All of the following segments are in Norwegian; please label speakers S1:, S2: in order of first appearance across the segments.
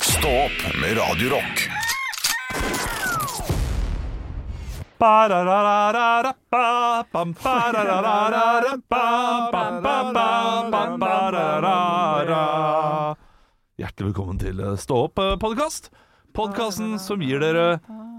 S1: Stå opp med Radio Rock.
S2: Hjertelig velkommen til Stå opp-podkast. Podkasten som gir dere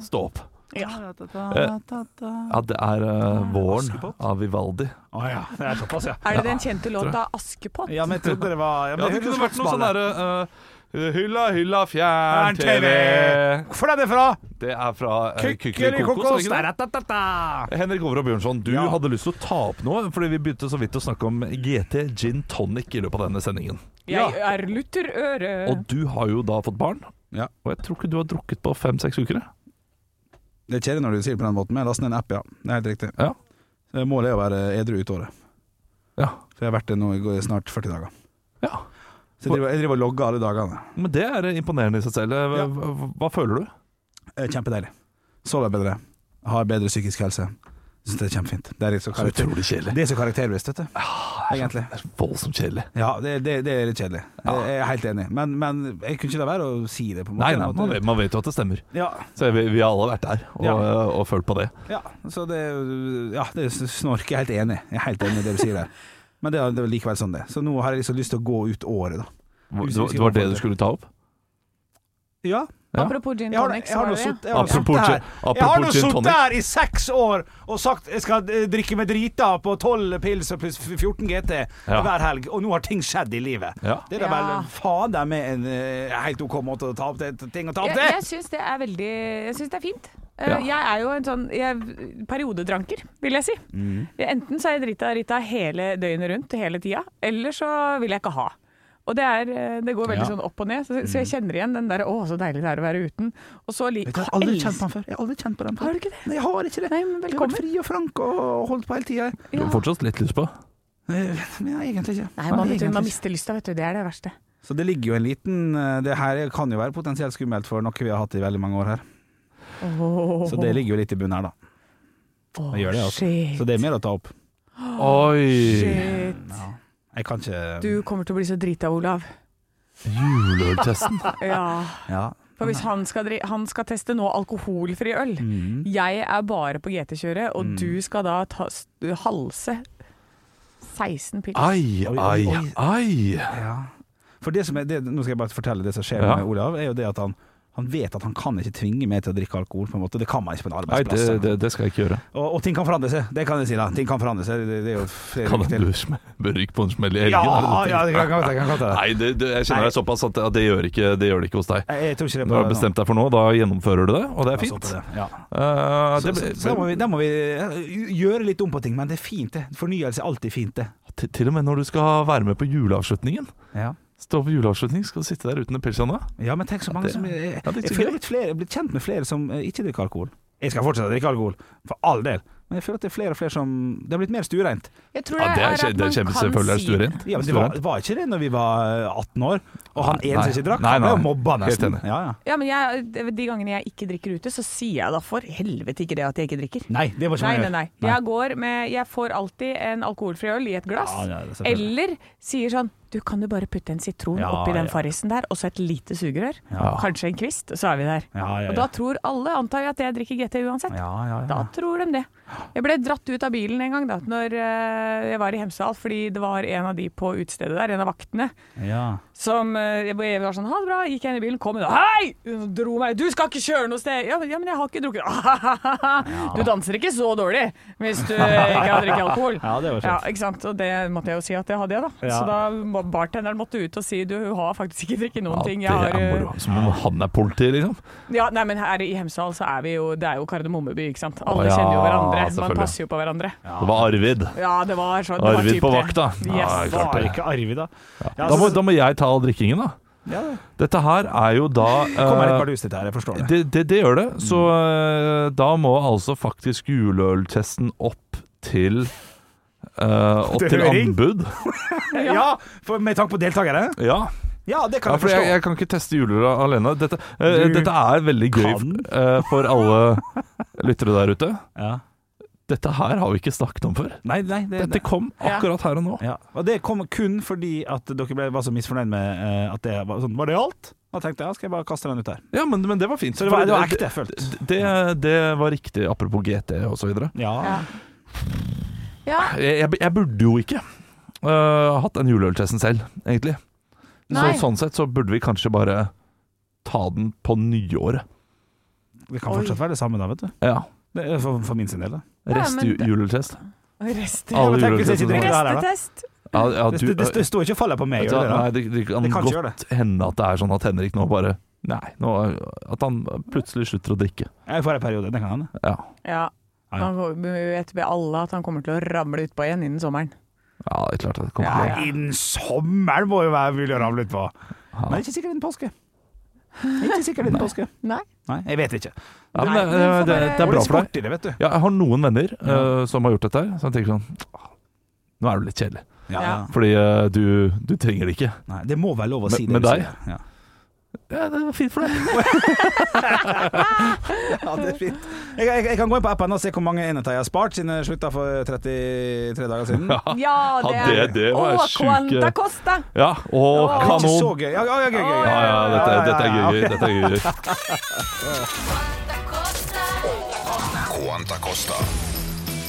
S2: stå opp. Eh, Ja, det er eh, våren av Vivaldi.
S3: Å ja. Det er såpass, ja.
S4: Er det den kjente låta 'Askepott'?
S3: Ja, men jeg trodde det var ja, men
S2: Ja, det kunne
S3: høres
S2: vært noe sånn
S3: Slottsbanen.
S2: derre eh, Hylla, hylla, fjern-TV.
S3: Hvor er det fra?
S2: Det er fra uh, Kykkeli
S3: Kykkelikokos.
S2: Kokos. er det ikke det? Henrik Over og Bjørnson, du
S3: Ja.
S2: hadde lyst til å ta opp noe, fordi vi begynte så vidt å snakke om GT gin tonic i løpet av denne sendingen.
S4: Jeg er lutterøre.
S2: Og du har jo da fått barn,
S3: Ja.
S2: og jeg tror ikke du har drukket på fem-seks uker. jeg.
S3: Det er kjedelig når du sier det på den måten, men jeg laster ned en app, ja. Det er helt riktig.
S2: Ja.
S3: Så Målet er å være edru ut året.
S2: Ja.
S3: For jeg har vært det nå i går- snart 40 dager.
S2: ja.
S3: Så jeg driver, jeg driver og logger alle dagene.
S2: Men det er imponerende i seg selv. Hva,
S3: Ja.
S2: hva, hva føler du?
S3: Eh, Kjempedeilig. Sover bedre. Har bedre psykisk helse. Syns det er kjempefint. Det er litt så, karakter
S2: utrolig kjedelig.
S3: det er så karakterbevisst, vet du. Egentlig.
S2: Det er voldsomt kjedelig.
S3: Ja, det, det, det er litt kjedelig.
S2: Ja.
S3: Jeg er helt enig. Men, men jeg kunne ikke la være å si det, på en måte.
S2: Nei, nei, man vet, man vet jo at det stemmer.
S3: Ja,
S2: Så vi, vi har alle vært der og, eh,
S3: Ja.
S2: og, følt på det.
S3: ja, så det, ja, det er snork. Jeg er helt enig Jeg er helt enig i det du sier der. Men det er, det er likevel sånn det. Så nå har jeg liksom lyst til å gå ut året, da.
S2: Det var, det var det du skulle ta opp?
S3: Ja.
S2: Ja.
S4: Apropos gin
S3: Jeg har,
S4: tonic,
S3: jeg
S4: så
S3: har
S4: var
S3: nå
S4: det
S3: sittet
S4: det.
S3: jeg har nå
S2: Apropos gin-
S3: sittet her- Jeg har nå
S2: apropos gin
S3: sittet
S2: tonic.
S3: her i seks år og sagt jeg skal eh, drikke meg drita på 12 pils og pluss 14 GT
S2: Ja.
S3: hver helg, og nå har ting skjedd i livet.
S2: Ja.
S3: Det er da
S4: Ja.
S3: vel faen det er med en eh, helt OK måte å ta opp det, ting å ta opp
S4: Jeg,
S3: det!
S4: jeg syns det er veldig Jeg syns det er fint. Eh,
S2: Ja.
S4: Jeg er jo en sånn jeg, periodedranker, vil jeg si.
S3: Mm.
S4: Jeg- Enten så er jeg drita rita hele døgnet rundt hele tida, eller så vil jeg ikke ha. Og det, er, eh, det går veldig
S3: Ja. Mm.
S4: sånn opp og ned, så, så jeg kjenner igjen den derre 'å, så deilig det er å være uten'. Og så
S3: Vet
S4: liker
S3: du, Jeg har aldri kjent på den før. Jeg har aldri kjent på den før.
S4: Har du ikke det?
S3: Nei, jeg har ikke det.
S4: Nei, men
S3: Jeg har vært
S4: velkommen.
S3: fri og frank og holdt på hele tida.
S2: Du
S4: Ja.
S2: har fortsatt litt lyst på?
S3: Nei, egentlig ikke.
S4: Nei, man,
S3: Nei,
S4: vet du, man
S3: egentlig ikke.
S4: mister lysta, vet du. Det er det verste.
S3: Så det ligger jo en liten eh, Det her kan jo være potensielt skummelt for noe vi har hatt i veldig mange år her. Så det ligger jo litt i bunnen her, da.
S4: Åh,
S3: gjør det, altså.
S4: Shit.
S3: Så det er mer å ta opp.
S2: Oi!
S4: Shit.
S3: Jeg kan ikke
S4: Du kommer til å bli så drita, Olav.
S2: Juleøltesten.
S4: Ja.
S3: Ja.
S4: For hvis han skal, dri han skal teste nå alkoholfri øl
S3: Mm.
S4: Jeg er bare på GT-kjøret, og
S2: Mm.
S4: du skal da ta, s- halse 16 pils.
S2: Ai,
S3: Oi,
S2: ai,
S3: oi.
S2: ai.
S3: ja. For det som er det, Nå skal jeg bare fortelle det som skjer
S2: Ja.
S3: med Olav, er jo det at han han vet at han kan ikke tvinge meg til å drikke alkohol. på en måte Det kan man ikke på en
S2: Nei, det,
S3: arbeidsplass.
S2: det, det skal jeg ikke gjøre.
S3: Og, og ting kan forandre seg, det kan jeg si. da Ting kan forandre seg. Det, det er jo flere
S2: Kan
S3: uker til.
S2: du sm- bør ryke på en smell i helgen? er
S3: Ja,
S2: det det du
S3: ja, det
S2: tenker?
S3: kan godt det kan godt være.
S2: Nei, det, det, jeg kjenner deg såpass at ja, det gjør ikke, det gjør det ikke hos deg.
S3: Jeg, jeg tror ikke det er
S2: Når du har bestemt deg for noe, da gjennomfører du det, og det er fint.
S3: Ja.
S2: Eh,
S3: Så,
S2: det,
S3: så, så da må vi, da må vi eh, gjøre litt om på ting, men det er fint, det. Fornyelse er alltid fint, det.
S2: til, til og med når du skal være med på juleavslutningen.
S3: Ja,
S2: Stå på juleavslutning, skal du sitte der uten en pils i hånda?
S3: men tenk så mange
S2: det-
S3: som Jeg, jeg,
S2: ja, det er
S3: jeg
S2: så
S3: føler
S2: gøy.
S3: litt flere, jeg er blitt kjent med flere som eh, ikke drikker alkohol. Jeg skal fortsatt drikke alkohol, for all del, men jeg føler at det er flere og flere som Det har blitt mer stuereint.
S4: Jeg tror
S2: Ja, Ah, det er,
S4: at
S2: kje- det
S4: man
S2: er kjempe,
S4: kan
S2: selvfølgelig er det
S4: si
S2: stuerent.
S3: Ja, men det var, var ikke det når vi var eh, 18 år, og han
S2: Nei,
S3: ene
S2: nei.
S3: som ikke drakk,
S2: Nei,
S3: han ble
S2: nei.
S3: jo mobba
S2: Helt
S3: nesten.
S2: enig.
S3: Ja, ja.
S4: Ja, men jeg, De gangene jeg ikke drikker ute, så sier jeg da for helvete ikke det at jeg ikke drikker.
S3: Nei, det var ikke
S4: Nei,
S3: man
S4: nei,
S3: gjør.
S4: nei. Jeg, går med, jeg får alltid en alkoholfri øl i et glass.
S3: Ja, ja, det er selvfølgelig.
S4: eller sier sånn Du, kan du bare putte en sitron
S3: Ja,
S4: oppi den
S3: ja.
S4: farrisen der, og så et lite sugerør?
S3: Ja.
S4: Kanskje en kvist, så er vi der.
S3: Ja, ja,
S4: Og
S3: ja.
S4: da tror alle, antar jeg, at jeg drikker GT uansett.
S3: Ja, ja, ja.
S4: Da tror de det. Jeg ble dratt ut av bilen en gang da Når eh, jeg var i Hemsedal, fordi det var en av de på utestedet der, en av vaktene,
S3: ja.
S4: som eh, jeg jeg var sånn Ha det bra. Gikk jeg inn i bilen, kom hun og Hei! Hun dro meg. Du skal ikke kjøre noe sted. Ja, men, ja, men jeg har ikke drukket. Du danser ikke så dårlig hvis du ikke har drukket alkohol.
S3: Ja, det var
S4: Ja,
S3: kjent.
S4: ikke sant? Og det måtte jeg jo si at det hadde jeg, da.
S3: Ja.
S4: Så da må- bartenderen måtte ut og si du hun har faktisk ikke drukket noen
S2: Ja,
S4: ting.
S2: det
S4: Jeg har,
S2: er
S4: eh,
S2: moro. Som om han er politi, liksom.
S4: ja, nei, men her i Hemsedal så er vi jo Det er jo Kardemommeby, ikke sant. Alle
S2: Å, ja,
S4: kjenner jo hverandre. Man
S2: selvfølgelig.
S4: passer jo på hverandre.
S2: Det var Arvid.
S4: Ja, det var sånn. det var
S2: Arvid
S4: typ
S2: på
S4: det.
S2: vakta. Ja,
S4: Yes.
S2: klart
S3: Var
S2: det.
S3: ikke Arvid, da? Ja,
S2: Da må,
S3: så-
S2: da må jeg ta all drikkingen, da.
S3: ja, det.
S2: Dette her er jo da
S3: Kommer litt
S2: eh,
S3: bardust ut her, jeg forstår det.
S2: det, det, det gjør det. Så eh, da må altså faktisk juleøltesten opp til eh, Opp
S3: Til
S2: til
S3: høring?
S2: anbud.
S3: Ja, for med tanke på deltakere?
S2: Ja,
S3: Ja, det kan
S2: ja
S3: jeg
S2: for
S3: forstå.
S2: jeg, jeg kan ikke teste juleøl alene. Dette, eh,
S3: Du
S2: dette er veldig gøy
S3: kan.
S2: eh, for alle lyttere der ute.
S3: Ja.
S2: Dette her har vi ikke snakket om før.
S3: Nei, nei, det,
S2: Dette kom
S4: Ja.
S2: akkurat her og nå.
S3: ja. Og det kom kun fordi at dere ble, var så misfornøyd med eh, at det var sånn Var det alt? Da tenkte jeg skal jeg bare kaste den ut der.
S2: Ja, men, men det var fint.
S3: Så det var, det var ekte, jeg følte.
S2: Det, det, det var riktig, apropos GT og så videre.
S3: Ja.
S4: Ja. ja.
S2: Jeg, jeg, jeg burde jo ikke øh, hatt den juleøltesten selv, egentlig. Så,
S4: Nei.
S2: sånn sett så burde vi kanskje bare ta den på nyåret.
S3: Det kan
S4: Oi.
S3: fortsatt være det samme da, vet du.
S2: Ja.
S3: Det er for, for min sin del, da.
S4: Ja,
S2: Rest
S4: men det-
S2: juleøltest.
S4: Rester.
S2: Alle
S3: tenk hvis
S2: juleøltester.
S3: ikke det-
S4: Restetest.
S2: Ja, ja,
S3: Det,
S2: du,
S3: det, det, det står ikke og faller på meg.
S2: Vet du
S3: gjør
S2: hva,
S3: det da?
S2: nei, det, det kan,
S3: Det kan ikke gjøre
S2: godt hende at det er sånn at Henrik nå bare Nei, nå, at han plutselig slutter å drikke.
S3: Jeg får en periode, det kan hende.
S2: Ja,
S4: Ja.
S3: Ja, ja.
S4: Han får- vi vet ved alle at han kommer til å ramle utpå igjen innen sommeren.
S2: ja det er klart at det kommer
S4: Ja,
S2: til å
S4: ja.
S3: Innen sommeren må jo være mulig å ramle ut på.
S2: Ja.
S3: Men ikke sikkert innen påske. Ikke sikkert innen påske.
S4: Nei.
S3: Nei, jeg vet ikke.
S2: ja, men,
S4: Nei,
S2: det,
S4: men
S2: det, det
S4: får
S2: er
S4: bare-
S2: bra for deg.
S3: sport i det, vet du.
S2: Ja, jeg har noen venner
S3: Ja.
S2: eh, som har gjort dette her, så jeg tenker sånn «Åh, Nå er du litt kjedelig.
S3: Ja, ja.
S4: Ja.
S2: Fordi eh, du, du trenger det ikke.
S3: Nei, det må være lov å
S2: Med-
S3: si det.
S2: med
S3: du
S2: deg?
S3: sier. Ja.
S2: Ja, det var fint for deg.
S3: Ja, det er fint. Jeg, jeg, jeg kan gå inn på appen og se hvor mange enheter jeg har spart siden jeg slutta for 33 dager siden.
S2: Ja,
S4: Ja, det
S2: Ja, det- det var
S4: Å,
S2: sjuke-
S4: Quanta Costa!
S2: Ja, og
S4: Ja,
S3: Det er ikke så
S2: kanon.
S3: gøy. Ja, ja, ja, gøy, gøy,
S2: Ja,
S3: gøy.
S2: ja, dette, dette er
S3: Ja, ja,
S2: gøy.
S3: ja.
S2: Dette er gøy.
S1: Quanta Costa.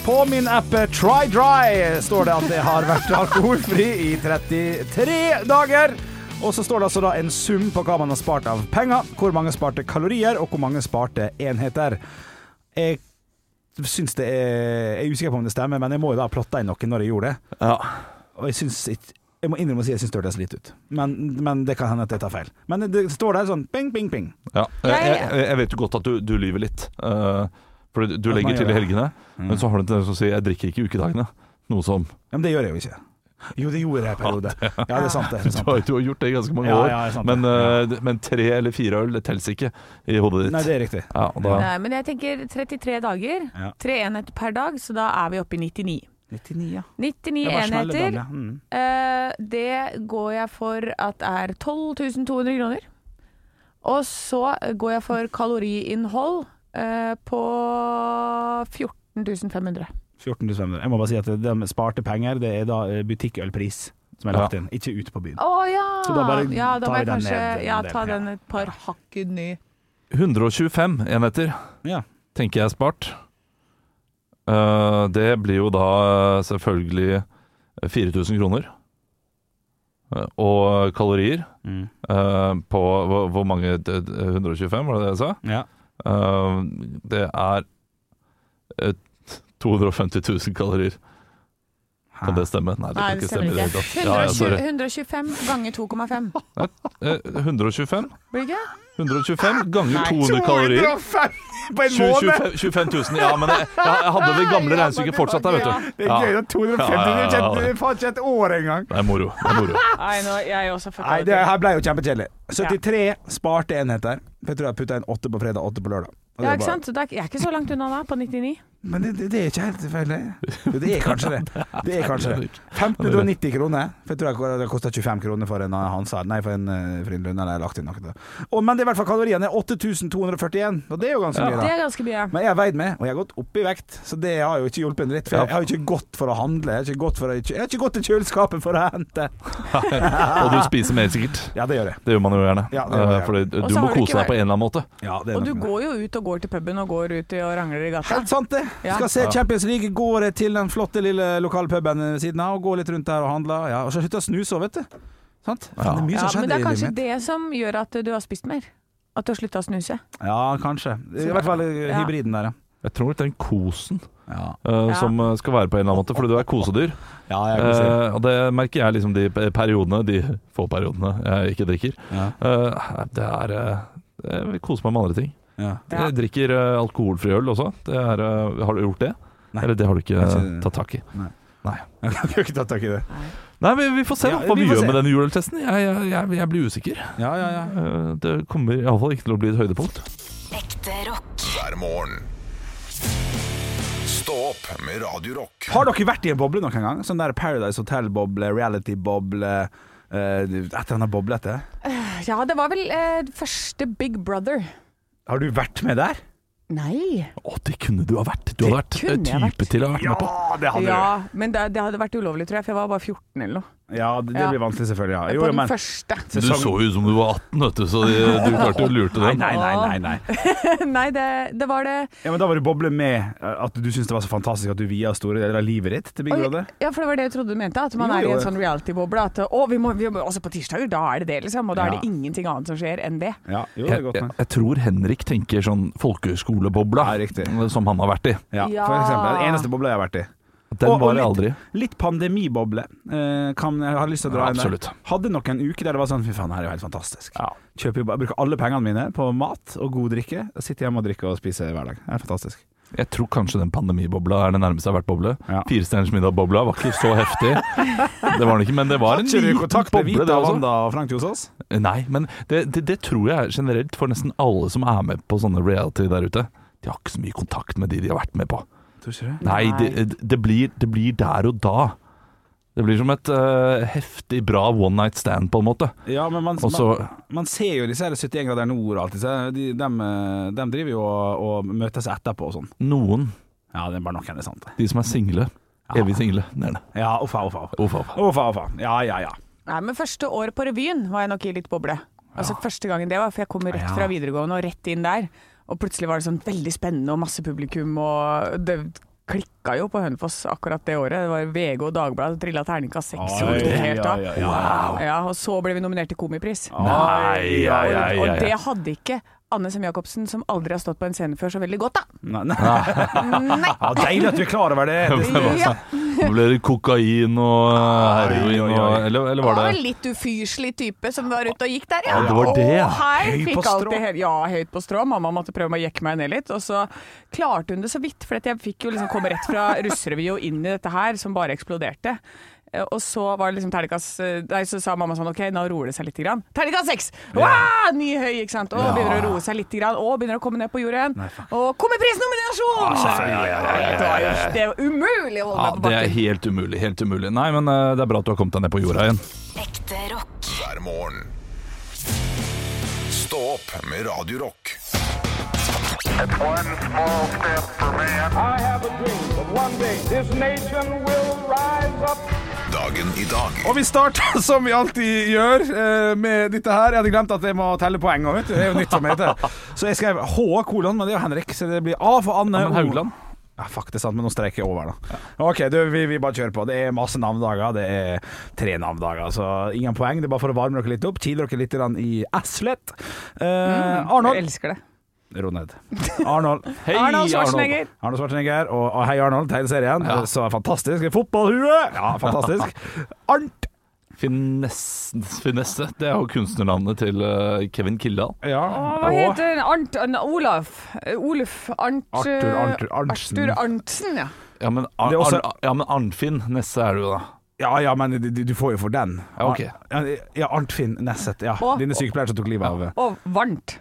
S3: På min app eh, Try Dry står det at det har vært alkoholfri i 33 dager. Og så står det altså da en sum på hva man har spart av penger, hvor mange sparte kalorier, og hvor mange sparte enheter. Jeg syns det er Jeg er usikker på om det stemmer, men jeg må jo da ha plotta inn noe når jeg gjorde det.
S2: Ja.
S3: Og jeg syns ikke jeg må innrømme å si jeg syns det hørtes litt ut, men, men det kan hende at jeg tar feil. Men det står der sånn ping, ping, ping.
S2: Ja. Jeg, jeg, jeg vet jo godt at du, du lyver litt. eh, for du, du
S3: At man
S2: legger
S3: gjør
S2: til i
S3: det.
S2: helgene,
S3: Mm.
S2: men så har du en tendens til å si 'jeg drikker ikke i ukedagene'. Noe som
S3: Ja, men det gjør jeg jo ikke. Jo, det gjorde jeg i en periode. Ja, det er sant, det. det er
S2: Du
S3: sant.
S2: har, du har gjort det i ganske mange
S3: Ja,
S2: år,
S3: ja, det er sant,
S2: men,
S3: ja.
S2: eh, men tre eller fire øl det telles ikke i hodet ditt.
S3: Nei, det er riktig.
S2: ja, og da,
S4: Nei, men jeg tenker 33 dager.
S3: Ja.
S4: Tre enheter per dag, så da er vi oppe i 99.
S3: 99, ja.
S4: 99
S3: Det var smelle
S4: enheter.
S3: dagen, ja. Mm.
S4: Eh, det går jeg for at er 12 200 kroner. Og så går jeg for kaloriinnhold eh, på 14 500.
S3: 14 til 500. Jeg må bare si at de sparte penger, det er da eh, butikkølpris som er lagt inn, ikke ute på byen.
S4: Å ja!
S3: Så da bare
S4: ja, da
S3: tar
S4: må jeg
S3: vi den
S4: kanskje
S3: ned en
S4: ja,
S3: del,
S4: ta
S3: ja.
S4: den et par hakk ny.
S2: 125 enheter
S3: Ja.
S2: tenker jeg er spart. Eh, det blir jo da eh, selvfølgelig 4000 kroner. Eh, og kalorier eh, på hvor, hvor mange? d- d- 125, var det det jeg sa?
S3: Ja.
S2: Eh, det er eh, 250 000 kalorier. Kan
S3: Ah.
S2: det stemme? Nei, det
S4: Nei,
S2: kan
S4: det
S2: ikke
S4: stemmer
S2: stemme. i det
S4: ikke.
S2: hele tatt. Ja, ja, sorry.
S4: 125 ganger 2,5.
S2: Eh, 125
S4: Blir det ikke?
S2: 125 ganger
S4: Nei.
S2: 200 kalorier.
S3: 250 på
S2: 20, 25, 25 000. Ja, men jeg, jeg hadde det gamle
S4: Ja,
S2: regnestykket fortsatt der, vet du.
S3: Det er gøy,
S2: Ja,
S3: da. 250
S2: Ja, ja, ja, ja.
S3: Det er faen ikke et år engang.
S2: det er moro. Det er moro.
S4: Nei, nå, jeg er også
S3: Nei, det her ble jo kjempekjedelig.
S4: Ja.
S3: 73 sparte enheter. Jeg tror jeg putta inn 8 på fredag, 8 på lørdag. Og det
S4: Ja,
S3: er
S4: ikke
S3: bare-
S4: sant? Så det er- Jeg er ikke så langt unna da, på 99.
S3: Men det, det, det er ikke helt feil, det. Jo, det er kanskje det. Det er kanskje det. 1590 kroner. For jeg tror jeg det kosta 25 kroner for en Hansa Nei, for en eh, Frydenlund. Eller jeg har lagt inn noe til det. Å, men det er i hvert fall kaloriene. 8241. Og det er jo ganske
S4: Det
S3: mye, da.
S4: er ganske mye.
S3: Men jeg har veid meg, og jeg har gått opp i vekt, så det har jo ikke hjulpet en dritt. For jeg, jeg har jo ikke gått for å handle. Jeg har ikke gått, for å, jeg har ikke gått til kjøleskapet for å hente.
S2: Og du spiser mer, sikkert.
S3: Ja, det gjør jeg.
S2: Det gjør man jo gjerne.
S3: Ja, det gjør man
S2: Eh, Fordi
S4: Og
S2: du
S4: så
S2: må
S4: har det
S2: kose
S4: ikke
S2: deg på en eller annen måte.
S3: Ja, det er
S4: Og
S3: nok
S4: du
S3: med det.
S4: går jo ut og går til puben og går ut i- og rangler i gata.
S3: Helt sant, det.
S4: Ja.
S3: Skal se
S2: Ja.
S3: Champions League. Går jeg til den flotte lille lokale puben ved siden av og går litt rundt der og handler. Ja, og så slutter jeg å snuse òg, vet du. Sant? Faen, Det er mye
S4: Ja,
S3: som
S4: men
S3: skjedde
S4: det er
S3: i
S4: kanskje
S3: livet mitt.
S4: det som gjør at du har spist mer. At du har slutta å snuse.
S3: Ja, kanskje. I hvert fall eh,
S4: Ja.
S3: hybriden der, ja.
S2: Jeg tror den kosen
S3: Ja,
S2: eh,
S4: Ja.
S2: som eh, skal være på en eller annen måte, fordi du er kosedyr.
S3: ja jeg kan si det.
S2: Eh, og det merker jeg liksom de pe- periodene, de få periodene jeg ikke drikker.
S3: Ja.
S2: Eh, det er eh, Jeg vil kose meg med andre ting.
S3: Ja.
S4: Ja.
S2: Jeg drikker eh, alkoholfri øl også. Det er, eh, har du gjort det?
S3: Nei.
S2: Eller det har du ikke
S3: Jeg har
S2: eh,
S3: ikke-
S2: tatt tak i?
S3: Jeg kan ikke ta tak i det.
S2: Nei, vi, vi får se da,
S3: Ja,
S2: hva
S3: vi
S2: vi,
S3: får
S2: gjør
S3: se.
S2: med denne juleøltesten. Jeg, jeg, jeg, jeg blir usikker.
S3: Ja, ja, ja.
S2: Eh, Det kommer iallfall ikke til å bli et høydepunkt.
S5: Ekte rock.
S1: Hver morgen. Stå opp med Radio Rock.
S3: Har dere vært i en boble noen gang? Sånn der Paradise Hotel-boble, reality-boble eh, Et eller annet boblete.
S4: Ja, det var vel eh, første Big Brother.
S3: Har du vært med der?
S4: Nei.
S2: Å, det kunne du ha vært! Du hadde vært
S4: kunne
S2: eh,
S4: jeg vært.
S2: type til å ha vært med på.
S3: det
S4: Ja, men det, det hadde vært ulovlig, tror jeg, for jeg var bare 14 eller noe.
S3: Ja, det, det
S4: Ja.
S3: blir vanskelig, selvfølgelig. Ja.
S4: på
S3: Jo,
S4: den
S3: men
S4: første.
S2: Du
S3: sesong-
S2: så jo ut som du var 18, vet du, så de, du klarte jo å lure
S3: Nei,
S2: den.
S3: nei, nei. nei, nei.
S4: Nei, det, det var det
S3: Ja, men da var du boble med eh, at du syntes det var så fantastisk at du via store deler av livet ditt til Big
S4: Oi,
S3: Brother.
S4: Ja, for det var det jeg trodde du mente. At man
S3: Jo,
S4: er i
S3: jo.
S4: en sånn reality-boble. At å, vi må, vi må Altså, på tirsdager, da er det det, liksom. Og da er
S3: Ja.
S4: det ingenting annet som skjer enn det.
S3: Ja, jo, det er
S2: Jeg,
S3: godt
S2: jeg,
S3: men.
S2: jeg tror Henrik tenker sånn folkehøyskolebobla
S3: Ja, riktig.
S2: som han har vært i.
S3: Ja,
S4: Ja.
S3: for eksempel. Den eneste bobla jeg har vært i.
S2: Den
S3: Og- og
S2: var jeg aldri.
S3: litt- Litt pandemiboble. Eh, kan, jeg har lyst til å dra
S2: Ja,
S3: inn der.
S2: absolutt.
S3: Hadde noen uker der det var sånn Fy faen, det her er jo helt fantastisk.
S2: Ja.
S3: Kjøper jo bare, bruker alle pengene mine på mat og god drikke. og Sitter hjemme og drikker og spiser hver dag. Det er fantastisk.
S2: Jeg tror kanskje den pandemibobla er det nærmeste jeg har vært boble.
S3: Ja.
S2: Firestjerners middag-bobla var ikke så heftig. Det var den ikke, men det var en
S3: Kjører
S2: liten
S3: du kontakt med
S2: boble,
S3: Vita
S2: det
S3: og
S2: også.
S3: Wanda og Frank Josås?
S2: Nei, men det, det, det tror jeg er generelt for nesten alle som er med på sånne reality der ute. De har ikke så mye kontakt med de de har vært med på.
S3: Tror ikke det.
S2: Nei,
S4: Nei.
S2: det, det, blir, det blir der og da. Det blir som et eh, heftig bra one night stand, på en måte.
S3: Ja, men man,
S2: Og så
S3: man, man ser jo disse her 71 grader nord og alt disse. De, dem, eh, dem driver jo og, og møtes etterpå og sånn.
S2: noen,
S3: Ja, det er bare noen, det er sant. det.
S2: de som er single, evig single, nede.
S3: Ja, uffa, uffa. uffa.
S2: Uff, uff.
S3: Uffa, uffa. Ja, ja, ja.
S4: Nei, men første året på revyen var jeg nok i litt boble. Altså første gangen det var, for jeg kom rett
S3: Ja.
S4: fra videregående og rett inn der. Og plutselig var det sånn veldig spennende og masse publikum, og det klikka jo på Hønefoss akkurat det året. Det var VG og Dagbladet, trilla terningkast seks. og det var helt av.
S3: ja.
S4: Ja, og så ble vi nominert til Komipris.
S2: Nei, ja, ja,
S4: Og
S2: ja,
S4: det
S2: ja.
S4: hadde ikke Anne Sem Jacobsen, som aldri har stått på en scene før, så veldig godt, da.
S3: Nei, nei. Ja, deilig at du er klar over det. det
S4: Ja.
S2: Nå ble det kokain og eh, heroin
S3: Oi, oi,
S2: og
S3: oi.
S2: Eller, eller var det
S4: litt ufyselig type som var ute og gikk der,
S2: Ja, det var det, ja.
S4: Og her
S3: Høy på
S4: fikk
S3: strå.
S4: alltid he- Ja, høyt på strå. Mamma måtte prøve å jekke meg ned litt. Og så klarte hun det så vidt, for at jeg fikk jo liksom komme rett fra russerevy og inn i dette her, som bare eksploderte. Eh, Og så var det liksom terningkast eh, Nei, så sa mamma sånn OK, nå roer det seg litt. grann. Terningkast seks! Wow, ny høy, ikke sant. Og begynner å roe seg litt. Grann. Og begynner å komme ned på jorda igjen. Og komiprisnominasjon!
S2: Ah,
S4: Det var jo det var umulig å holde
S2: Ja,
S4: meg på
S2: det er
S4: bakken.
S2: helt umulig. Helt umulig. Nei, men eh, det er bra at du har kommet deg ned på jorda igjen.
S5: Ekte rock.
S1: hver morgen. Stå opp med Radio Rock.
S6: One small step for man. I have a dream that one day this nation will rise up.
S1: Dagen i dag
S3: Og vi starter som vi alltid gjør eh, med dette her. Jeg hadde glemt at jeg må telle poeng òg, vet du. Det er jo nytt for meg. dette. Så jeg skrev H kolon, men det er jo Henrik, så det blir A for
S4: Eh, oh.
S3: Anne.
S2: Ja, men
S3: O-
S2: Haugland?
S3: Ja, fuck, det er sant, men nå streiker jeg over, da. OK, du, vi, vi bare kjører på. Det er masse navnedager. Det er tre navnedager, så ingen poeng. Det er bare for å varme dere litt opp. Kile dere litt grann i Aslett. Eh,
S2: Mm,
S4: Jeg
S3: Arnold.
S4: elsker det.
S3: Ro ned. Arnold.
S2: Hei,
S4: Arnold Schwarzenegger.
S3: Arnold Schwarzenegger og og Hei Arnold, tegneserien. Så fantastisk. Fotballhue! Ja, fantastisk. Arnt.
S2: Finesse, finesse. Det er jo kunstnernavnet til eh, Kevin Kildahl.
S3: Ja.
S4: Å, Hva
S3: og-
S4: heter han? Arnt An- Olaf? Eh, Oluf Arnt...
S3: Arthur,
S4: eh,
S3: Arthur Arntzen.
S4: Arthur Arntzen, ja.
S2: Ja, men, Ar
S3: Det er også-
S2: Ar ja, men Arnfinn Nesse er du, da.
S3: Ja, ja, men du, du får jo for den.
S2: Ja, ok.
S3: Ja, ja, Arnt Finn Nesset. Ja.
S4: Å.
S3: Denne sykepleieren som tok livet av eh,
S4: Og Varnt.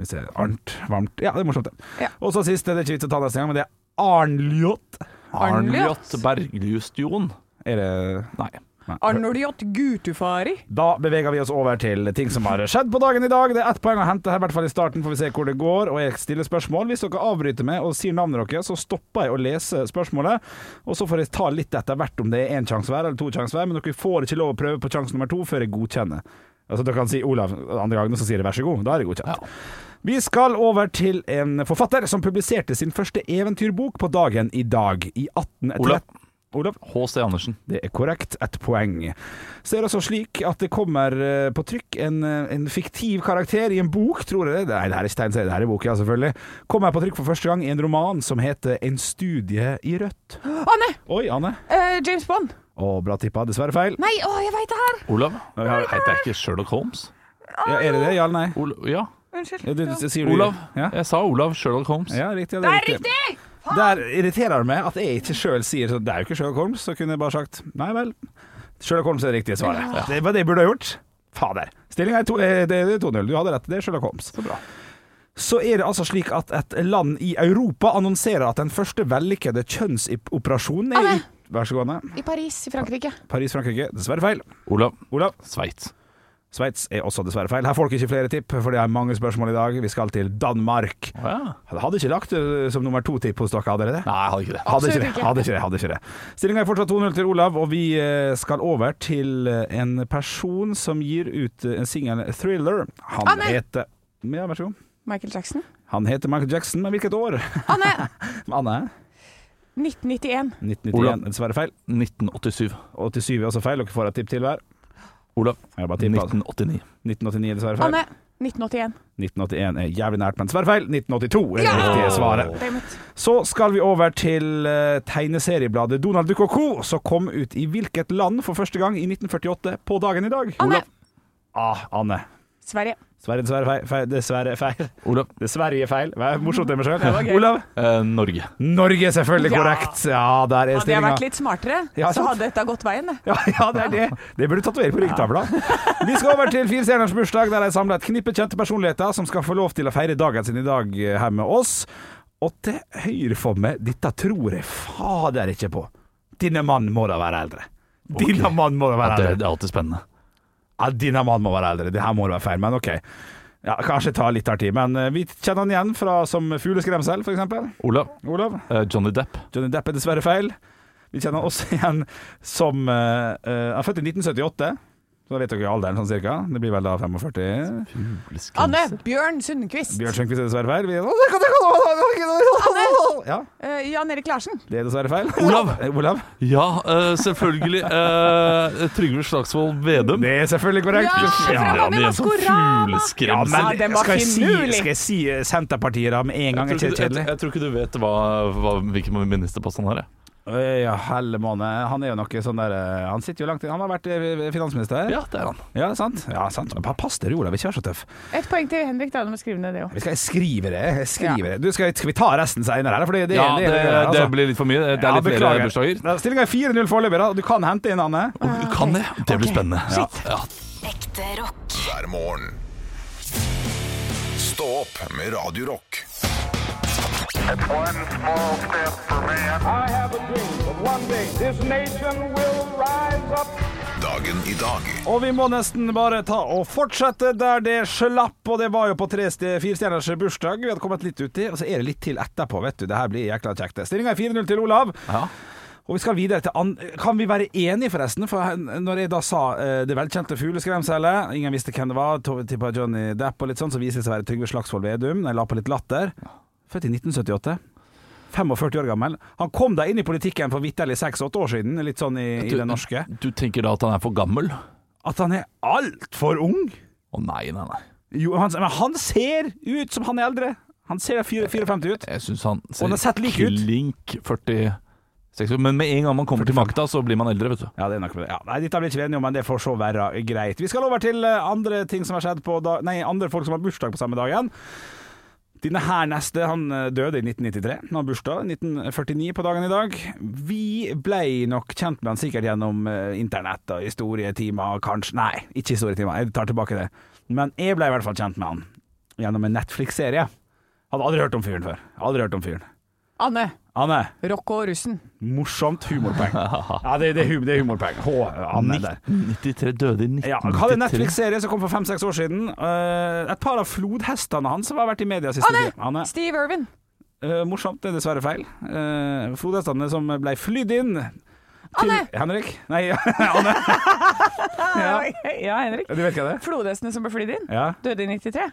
S3: Hvis det er Arnt Varmt. Ja, det er morsomt, det.
S4: Ja.
S3: Og så sist, det er ikke vits å ta neste gang, men det er Arnljot.
S2: Arnljot Bergljustjon.
S3: Er det
S2: Nei.
S4: Arnoljot Gutufari.
S3: Da beveger vi oss over til ting som har skjedd på dagen i dag. Det er ett poeng å hente her, i hvert fall i starten, får vi se hvor det går. Og jeg stiller spørsmål. Hvis dere avbryter meg og sier navnet deres, så stopper jeg å lese spørsmålet. Og så får jeg ta litt etter hvert om det er én sjanse hver eller to sjanser hver, men dere får ikke lov å prøve på sjanse nummer to før jeg godkjenner. Altså Dere kan si Olav andre gangen, og så sier jeg vær så god. Da er det godkjent. Vi skal over til en forfatter som publiserte sin første eventyrbok på dagen i dag, i 1813.
S2: Olav.
S3: Olav.
S2: H.C. Andersen.
S3: Det er korrekt, ett poeng. Så er det også slik at det kommer eh, på trykk en, eh, en fiktiv karakter i en bok, tror jeg det Nei, det her er ikke tegneserie, det her er bok, ja, selvfølgelig. Kommer på trykk for første gang i en roman som heter En studie i rødt.
S4: Anne!
S3: Oi, Anne.
S4: Eh, James Bond.
S3: Å, bra tippa. Dessverre feil.
S4: Nei, å, jeg veit det her!
S2: Olav? Heter jeg ikke Sherlock Holmes?
S3: Ja, er det det? Ja eller nei?
S2: Ol ja.
S4: Unnskyld.
S3: Ja, du, du- sier du-
S2: Olav.
S3: Ja?
S2: Jeg sa Olav Sherlock Holmes.
S3: ja, riktig. Ja,
S4: Det er riktig!
S3: Der irriterer det meg at jeg ikke sjøl sier sånn Det er jo ikke Sherlock Holmes, så kunne jeg bare sagt nei vel. Sherlock Holmes er det riktige svaret. Det var det jeg burde ha gjort. Fader. Stillinga er to- eh, det er 2-0. Du hadde rett, det er Sherlock Holmes. Så bra. Så er det altså slik at et land i Europa annonserer at den første vellykkede kjønnsoperasjonen er i
S4: Anne.
S3: Vær så god, Anne.
S4: I Paris i Frankrike.
S3: Paris, Frankrike. Dessverre feil.
S2: Olav
S3: Olav.
S2: Sveits.
S3: Sveits er også dessverre feil. Her får dere ikke flere tipp, for det er mange spørsmål i dag. Vi skal til Danmark.
S2: Å, ja.
S3: Jeg hadde ikke lagt det som nummer to-tipp hos dere, hadde dere det?
S2: Nei, jeg hadde ikke det.
S3: Hadde ikke
S4: Absolutt
S3: det.
S4: ikke.
S3: Hadde ikke det, hadde ikke det. Stillinga er fortsatt 2-0 til Olav, og vi eh, skal over til eh, en person som gir ut eh, en singel thriller. Han
S4: Anne!
S3: heter Ja, vær så god.
S4: Michael Jackson.
S3: Han heter Michael Jackson, men hvilket år?
S4: Anne!
S3: Anne?
S4: 1991.
S3: 1991.
S2: Olav.
S3: Dessverre feil.
S2: 1987.
S3: 87 er også feil. Dere får et tipp til hver.
S2: Olav.
S3: Jeg bare tipper, altså.
S2: 1989.
S3: 1989 er dessverre feil.
S4: Anne! 1981.
S3: 1981 er jævlig nært, men dessverre feil. 1982 er det riktige svaret.
S4: Damn it.
S3: Så skal vi over til eh, tegneseriebladet Donald Duck og co., som kom ut i hvilket land for første gang i 1948 på dagen i dag?
S4: Anne!
S3: Olav. Ah, Anne.
S4: Sverige.
S3: Sverre, dessverre feil. feil. Dessverre feil.
S2: Olav.
S3: Dessverre feil. Hva er morsomt det med sjøl?
S4: var gøy.
S3: Olav.
S2: Eh, Norge.
S3: Norge, selvfølgelig
S4: Ja.
S3: korrekt. Ja, der er
S4: Hadde jeg
S3: stillinga.
S4: vært litt smartere,
S3: Ja,
S4: så
S3: sant.
S4: hadde dette gått veien. det.
S3: Ja, ja, det er det. Det burde du tatovere på ryggtavla. Vi skal over til Fire stjerners bursdag, der de samler et knippe kjente personligheter som skal få lov til å feire dagen sin i dag eh, her med oss. Og til høyre for meg, dette tror jeg fader ikke på. Denne mannen må da være eldre. Denne
S2: Ok.
S3: mannen må da
S2: Ja,
S3: være
S2: det,
S3: eldre.
S2: det er alltid spennende.
S3: Ja, denne mannen må være eldre. Det her må da være feil, men ok. Ja, Kanskje ta litt av tid, men eh, vi kjenner han igjen fra som fugleskremsel, f.eks.
S2: Olav.
S3: Olav?
S2: Eh, Johnny Depp.
S3: Johnny Depp er dessverre feil. Vi kjenner han også igjen som eh, eh, Han er født i 1978. Så da vet dere alderen sånn cirka. Det blir vel da 45.
S2: Mm,
S4: Anne! Bjørn Sundquist.
S3: Bjørn Sjønkvist er dessverre feil. Vi... Ja,
S4: Eh, Jan Erik Larsen.
S3: det er dessverre feil.
S2: Olav.
S3: Eh, Olav.
S2: Ja, eh, selvfølgelig. Eh, Trygve Slagsvold Vedum.
S3: Det er selvfølgelig korrekt.
S4: Ja,
S2: Fy faen,
S4: fra Mamma
S2: det er en sånn
S4: Maskorama.
S3: Ja,
S2: fugleskremsel.
S3: men
S4: Ja, den var
S3: skal jeg si,
S4: finurlig.
S3: skal jeg si eh, Senterpartiet da med en gang?
S2: Jeg
S3: Er ikke
S2: tror, ikke,
S3: det
S2: du- jeg,
S3: kjedelig?
S2: jeg tror ikke du vet hva, hva, hvilken ministerpost han har. jeg.
S3: Øy, Ja, helle måne. Han er jo noe sånn der eh, Han sitter jo langt inn. Han har vært eh, finansminister.
S2: Ja, det er han.
S3: Ja, sant? Ja, sant. Men pass dere, Olav. Ikke vær så tøff.
S4: Et poeng til Henrik, da. Du må skrive ned det òg.
S3: Vi skal skrive det. Jeg skriver det. Du, skal, skal vi ta resten seinere? her? For det, det,
S2: Ja,
S3: det,
S2: det,
S3: altså.
S2: det blir litt for mye. Det er litt flere bursdager.
S3: Stillinga er 4-0 foreløpig, da. Du kan hente inn Anne.
S2: Og Kan det? Det blir spennende. Ja. Ja.
S5: Ekte rock.
S1: hver morgen. Stå opp med Radio Rock.
S6: It's one small step for man. I have a dream that one day this nation will rise up.
S1: Dagen i dag
S3: Og vi må nesten bare ta og fortsette der det slapp, og det var jo på tre ste- firestjerners bursdag. Vi hadde kommet litt uti, og så er det litt til etterpå, vet du. Det her blir jækla kjekt. Stillinga er 4-0 til Olav.
S2: Ja.
S3: Og vi skal videre til an Kan vi være enige, forresten? For han- når jeg da sa eh, det velkjente fugleskremselet, ingen visste hvem det var, to- tippa Johnny Depp og litt sånn, så viser det seg å være Trygve Slagsvold Vedum. Jeg la på litt latter. Født i 1978. 45 år gammel. Han kom da inn i politikken for vitterlig 6-8 år siden, litt sånn i, i det norske.
S2: Du tenker da at han er for gammel? Å
S3: At han er altfor ung!
S2: nei, nei, nei.
S3: Jo, han, men han ser ut som han er eldre! Han ser 54 ut.
S2: Jeg syns han
S3: Og han har sett lik ut.
S2: klink 46 ut. Men med en gang man kommer til makta, så blir man eldre, vet du.
S3: Ja, det er nok med det. Ja, nei, Dette blir ikke vi enige om, men det får så være greit. Vi skal over til eh, andre ting som har skjedd på da Nei, andre folk som har bursdag på samme dagen. Denne her neste, han eh, døde i 1993. Han har bursdag 1949 på dagen i dag. Vi blei nok kjent med han sikkert gjennom eh, internett og historietimer, og kanskje Nei, ikke historietimer, jeg tar tilbake det. Men jeg blei i hvert fall kjent med han gjennom en Netflix-serie. Hadde aldri hørt om fyren før. Aldri hørt om fyren.
S4: Anne.
S3: Anne,
S4: Rocco og russen.
S3: morsomt humorpoeng. Ja, det, det, er hu- det er humorpoeng. H, Anne der.
S2: 1993 døde i 1993.
S3: Ja, han hadde en Netflix-serie som kom for fem-seks år siden. Eh, et par av flodhestene hans har vært i media siste
S4: Anne!
S3: tid. Anne!
S4: Steve Irvin.
S3: Eh, morsomt, det er dessverre feil. Eh, flodhestene som ble flydd inn til
S4: Anne!
S3: Henrik? Nei, Anne. ja,
S4: Ja, Henrik.
S3: du vet hva det er?
S4: Flodhestene som ble flydd inn.
S3: Ja,
S4: Døde i 93.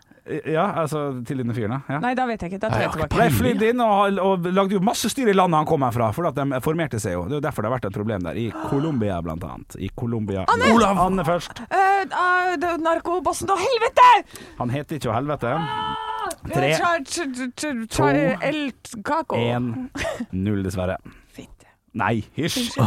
S3: ja altså til denne fyren, ja.
S4: Nei, da vet jeg ikke. Da tar jeg
S2: Nei,
S4: tilbake.
S3: Ble flydd inn og, og lagde jo masse styr i landet han kom herfra, for at de formerte seg jo. Det er jo derfor det har vært et problem der. I Colombia, blant annet. I Colombia.
S4: Anne!
S3: Olav! Anne først.
S4: Eh, eh, det er Narkobossen og helvete!
S3: Han heter ikke Helvete. Tre,
S4: Tre, to El Caco.
S3: 1-0, dessverre.
S4: Fitte.
S3: Nei, hysj.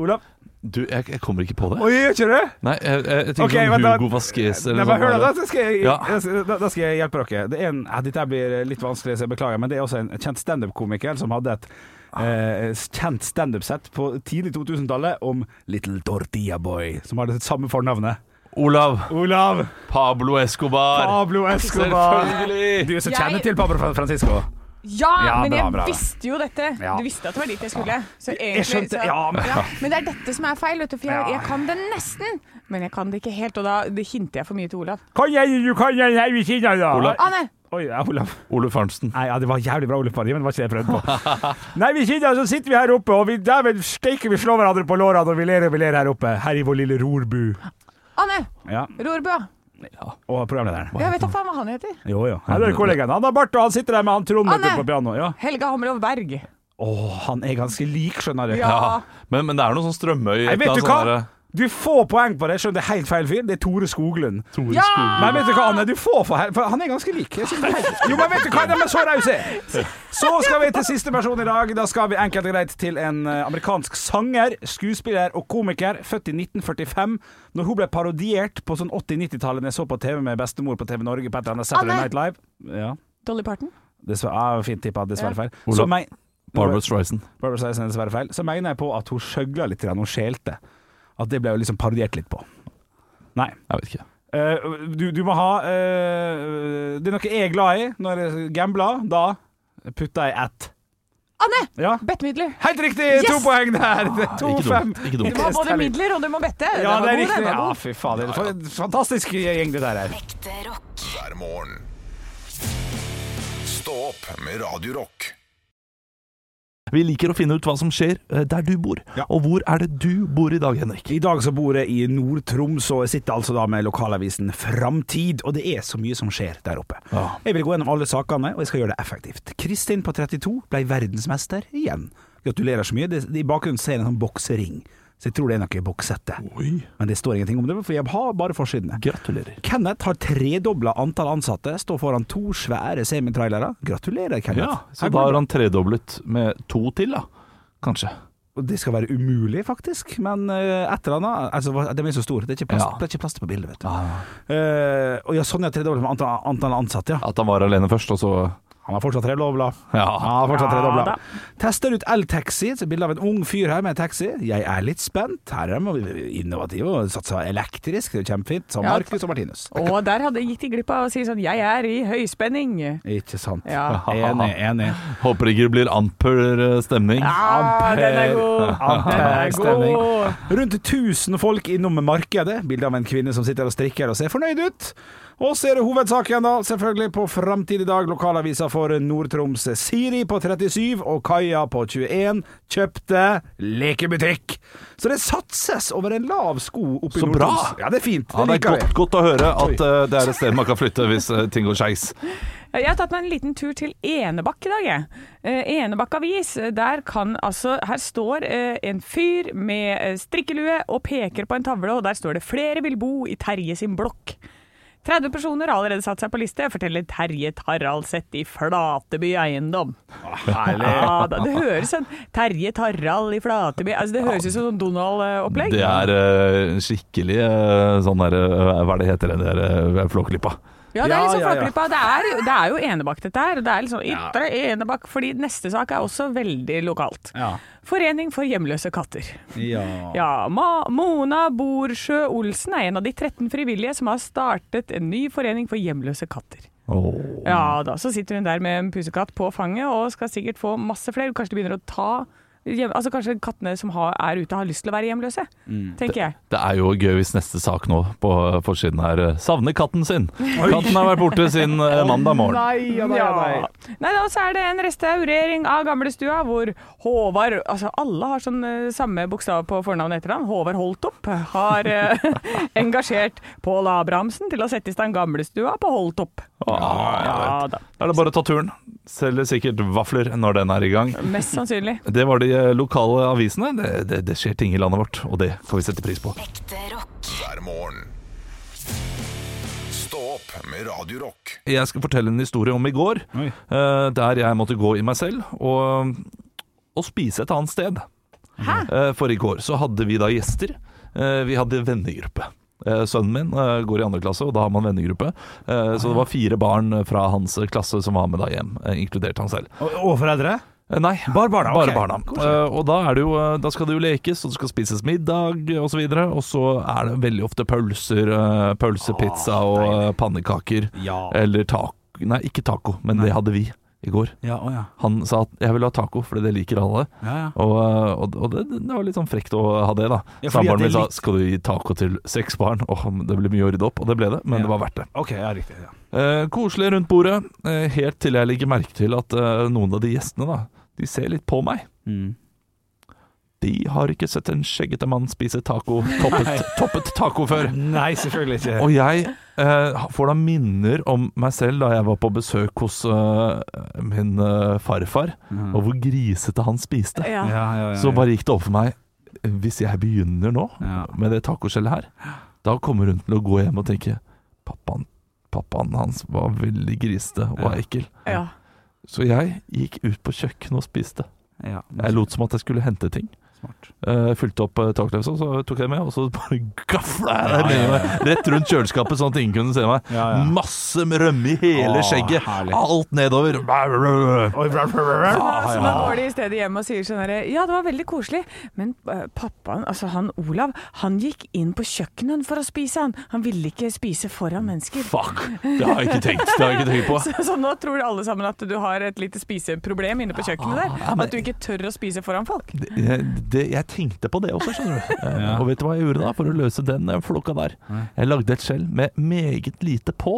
S3: Olav.
S2: Du, jeg, jeg kommer ikke på det.
S3: Oi, gjør ikke det?
S2: Nei, jeg, jeg, jeg tenker
S3: Ok,
S2: sånn
S3: vent da.
S2: Hugo Vasquez
S3: Nei,
S2: eller sånn.
S3: bare hør da,
S2: noe.
S3: da skal jeg,
S2: Ja.
S3: jeg skal- da, da skal jeg hjelpe dere. Det er en, ja, dette her blir litt vanskelig, så jeg beklager, men det er også en kjent standup-komiker som hadde et eh, kjent standup-sett på tidlig 2000-tallet om Little Tortilla Boy, som har det samme fornavnet.
S2: Olav
S3: Olav
S2: Pablo Escobar.
S3: Pablo Escobar.
S2: Selvfølgelig!
S3: Du som
S4: Jeg-
S3: kjenner til Pablo Fra- Francisco.
S4: Ja,
S3: Ja,
S4: men
S3: bra,
S4: jeg
S3: bra, bra.
S4: visste jo dette.
S3: Ja.
S4: Du visste at det var dit jeg skulle. Så egentlig,
S3: Jeg skjønte-
S4: så-
S3: ja, men-
S4: men det er dette som er feil, vet du. For jeg,
S3: Ja.
S4: jeg kan det nesten, men jeg kan det ikke helt. Og da det hinter jeg for mye til Olav.
S3: Kan jeg, du kan jeg, jeg vil si det, da.
S2: Olav.
S4: Å nei!
S3: Oi, ja, Olav.
S2: Ole Farnsen.
S3: Nei, ja, det var jævlig bra Ole Pardi, men det var ikke det jeg prøvde på. Nei, vi sitter, så sitter vi her oppe, og vi, dæven steike, vi slår hverandre på låra når vi ler og vi ler her oppe. Her i vår lille rorbu.
S4: Å nei!
S3: Ja,
S4: Rorbø.
S3: og programlederen.
S4: Jeg vet da faen hva han heter.
S3: Jo, jo. Her er kollegaen. Han har bart, og han sitter der med han Trond
S4: Han
S3: vet
S4: er-
S3: du, på piano. Ja.
S4: Helga Hammerlov Berg.
S3: Å, han er ganske lik, skjønner du.
S4: Ja.
S2: Ah, Men, men det er noe sånn strømøy
S3: Nei,
S2: et
S3: vet
S2: eller
S3: du
S2: annet
S3: hva?
S2: sånn
S3: Du får poeng på det, skjønner det er helt feil fyr. Det er Tore Skoglund.
S2: eh,
S4: Ja!
S3: Men vet du hva, Anne? Du får for her, for han er ganske lik. Jeg synes det er helt- Jo, men vet du hva? De er så rause! Så skal vi til siste person i dag. Da skal vi enkelt og greit til en eh, amerikansk sanger, skuespiller og komiker, født i 1945. Når hun ble parodiert på sånn 80-90-tallet jeg så på TV med bestemor på TV Norge på et eller annet Saturday
S4: Anne!
S3: Night Live. Ja,
S4: Dolly Parton.
S3: dessverre, ja fint tippa, dessverre feil.
S2: Olav.
S3: Så meg-
S2: Barbara Streisand.
S3: Barbra Streisand er dessverre feil. Så mener jeg på at hun skjøgla litt, grann, hun skjelte. At det ble jo liksom parodiert litt på. Nei.
S2: Jeg vet ikke.
S3: Eh, du, du må ha eh, Det er noe jeg er glad i når jeg gambler. Da putter jeg ett.
S4: Anne!
S3: Ja.
S4: Bette midler.
S3: Helt riktig! To
S4: Yes!
S3: poeng der. Det er
S2: Ah, Ikke
S3: To-fem.
S2: dumt. Ikke
S4: Du
S2: dumt.
S4: må ha både midler og du må bette.
S3: Ja,
S4: Den var
S3: det er
S4: god,
S3: riktig.
S4: den var
S3: Ja,
S4: god.
S3: fy fader. For en fantastisk gjeng det der er.
S5: Ekte rock.
S1: hver morgen. Stå opp med Radio Rock.
S2: Vi liker å finne ut hva som skjer eh, der du bor.
S3: Ja.
S2: Og hvor er det du bor i dag, Henrik?
S3: I dag så bor jeg i Nord-Troms, og jeg sitter altså da med lokalavisen Framtid. Og det er så mye som skjer der oppe.
S2: Ja.
S3: Jeg vil gå gjennom alle sakene, og jeg skal gjøre det effektivt. Kristin på 32 ble verdensmester igjen. Gratulerer så mye. Det, I bakgrunnen ser jeg en sånn boksering, så jeg tror det er noe boksette. Men det står ingenting om det, for jeg har bare forsidene.
S2: Gratulerer.
S3: Kenneth har tredobla antall ansatte, står foran to svære semitrailere. Gratulerer, Kenneth.
S2: Ja, så
S3: Her
S2: da
S3: går
S2: har han tredoblet med to til, da. Kanskje.
S3: Og det skal være umulig, faktisk. Men eh, et eller annet altså, hva- De er så store. Det er ikke plass,
S2: Ja.
S3: det er ikke plass til på bildet, vet du. Eh, og ja, sånn er tredobla med antall, antall ansatte, ja.
S2: At han var alene først, og så
S3: Han har fortsatt tredobla.
S2: Ja.
S3: Han har fortsatt
S4: Ja,
S3: tredobla.
S4: da.
S3: Tester ut eltaxi. så Bilde av en ung fyr her med taxi. Jeg er litt spent. Her er de innovative og satser elektrisk. Det er jo kjempefint. Som
S4: Ja.
S3: Markus og Martinus.
S4: Og der hadde gikk de glipp av å si sånn 'jeg er i høyspenning'.
S3: Ikke sant.
S4: Ja.
S3: Enig, enig.
S2: Håper ikke det blir amper eh, stemning.
S4: Ah, den er god! Den er
S3: Stemning.
S4: god!
S3: Rundt 1000 folk innom markedet. Bilde av en kvinne som sitter og strikker og ser fornøyd ut. Og så er det hovedsaken, da, selvfølgelig på Framtid i dag. Lokalavisa for Nord-Troms. Siri på 37 og Kaja på 21 kjøpte lekebutikk. Så det satses over en lav sko oppe i
S2: Så bra!
S3: Nord-Troms. Ja, det er fint.
S2: Ja,
S3: Det
S2: det er
S3: liker
S2: godt,
S3: vi.
S2: godt å høre at eh, det er et sted man kan flytte hvis eh, ting går skeis.
S4: Jeg har tatt meg en liten tur til Enebakk i dag, jeg. Eh, Enebakk avis. Der kan altså Her står eh, en fyr med eh, strikkelue og peker på en tavle, og der står det 'Flere vil bo i Terje sin blokk'. 30 personer har allerede satt seg på liste, forteller Terje Taraldseth i Flateby eiendom. Ja, da, det høres sånn Terje Tarral i Flateby altså, Det høres ut som sånn Donald-opplegg.
S2: Det er eh, skikkelig eh, sånn der eh, Hva er det heter den der eh, flåklypa?
S4: Ja, det er liksom
S3: Ja, ja, ja.
S4: Flåklypa. Det, er, det er jo Enebakk, dette her. og Det er liksom Ytre Enebakk, fordi neste sak er også veldig lokalt.
S3: Ja.
S4: Forening for hjemløse katter.
S3: Ja.
S4: Ja, Ma Mona Borsjø Olsen er en av de 13 frivillige som har startet en ny forening for hjemløse katter.
S2: Åh.
S4: Ja da, så sitter hun der med en pusekatt på fanget og skal sikkert få masse flere. Kanskje de begynner å ta hjem, Altså kanskje kattene som har, er ute har lyst til å være hjemløse, tenker jeg.
S2: Det er jo gøy hvis neste sak nå på forsiden her eh, savner katten sin. Katten har vært borte siden eh, mandag morgen.
S3: Nei, ja, nei, ja, nei.
S4: Ja. Nei, da, så er det en restaurering av gamlestua hvor Håvard Altså, alle har sånn eh, samme bokstav på fornavn og etternavn. Håvard Holtopp har eh, engasjert Pål Abrahamsen til å sette i stand gamlestua på Holtopp. Ja da.
S2: Da er det bare å ta turen. Selger sikkert vafler når den er i gang.
S4: Mest sannsynlig.
S2: Det var de eh, lokale avisene. Det, det, det skjer ting i landet vårt, og det kan vi sette pris på.
S5: Ekte rock.
S1: hver morgen. Stå opp med Radio Rock.
S2: Jeg skal fortelle en historie om i går,
S3: Oi.
S2: eh, der jeg måtte gå i meg selv og, og spise et annet sted. Eh, For i går så hadde vi da gjester. Eh, Vi hadde vennegruppe. Eh, Sønnen min eh, går i andre klasse, og da har man vennegruppe. Eh, Så det var fire barn fra hans klasse som var med da hjem, eh, inkludert han selv.
S3: Og, og foreldre?
S2: Eh, Nei,
S3: Bare barna, ok.
S2: Eh, og da, er det jo, eh, da skal det jo lekes, og det skal spises middag osv. Og, så videre, og så er det veldig ofte pølser, eh, pølsepizza og eh, pannekaker.
S3: Ja.
S2: Eller taco Nei, ikke taco, men det hadde vi. i går.
S3: Ja, å ja.
S2: Han sa at 'jeg vil ha taco, fordi det liker alle'.
S3: Ja, ja.
S2: Og, eh, og, og det, det var litt sånn frekt å ha det, da.
S3: Ja, fordi at
S2: Samboeren
S3: det
S2: min sa
S3: lik-
S2: 'skal du gi taco til seks barn?' Åh, det blir mye å rydde opp, og det ble det, men
S3: Ja.
S2: det var verdt det.
S3: OK, ja, riktig. Ja.
S2: Eh, koselig rundt bordet, eh, helt til jeg legger merke til at eh, noen av de gjestene, da, de ser litt på meg. De har ikke sett en skjeggete mann spise taco, toppet, toppet taco før.
S3: Nei, selvfølgelig ikke.
S2: Og jeg eh, får da minner om meg selv da jeg var på besøk hos eh, min eh, farfar,
S3: Mm.
S2: og hvor grisete han spiste.
S4: Ja.
S3: ja, ja, ja,
S2: Så bare gikk det opp for meg Hvis jeg begynner nå
S3: Ja.
S2: med det tacoskjellet her, da kommer hun til å gå hjem og tenke Pappaen, pappaen hans var veldig grisete og
S3: Ja.
S2: ekkel.
S4: Ja.
S2: Så jeg gikk ut på kjøkkenet og spiste.
S3: ja.
S2: Jeg lot som at jeg skulle hente ting.
S3: Smart.
S2: Eh, fylte opp eh, takløpsa, så tok jeg det med, og så bare gafla jeg det ned rett rundt kjøleskapet, sånn at ingen kunne se meg.
S3: Ja, ja.
S2: Masse rømme i hele
S3: Åh,
S2: skjegget,
S3: herlig.
S2: alt nedover.
S3: Oi, bra, bra, bra, bra.
S4: Så da går de i stedet hjem og sier sånn herre Ja, det var veldig koselig, men eh, pappaen, altså han Olav, han gikk inn på kjøkkenet for å spise, han. Han ville ikke spise foran mennesker.
S2: Fuck! Det har jeg ikke tenkt, det har jeg ikke tenkt på.
S4: Så, så nå tror alle sammen at du har et lite spiseproblem inne på kjøkkenet der.
S2: Ja, Ah, men-
S4: At du ikke tør å spise foran folk.
S2: Det, det, jeg tenkte på det også, skjønner du. Eh, Og vet du hva jeg gjorde da for å løse den eh, flokka der? Jeg lagde et skjell med meget lite på,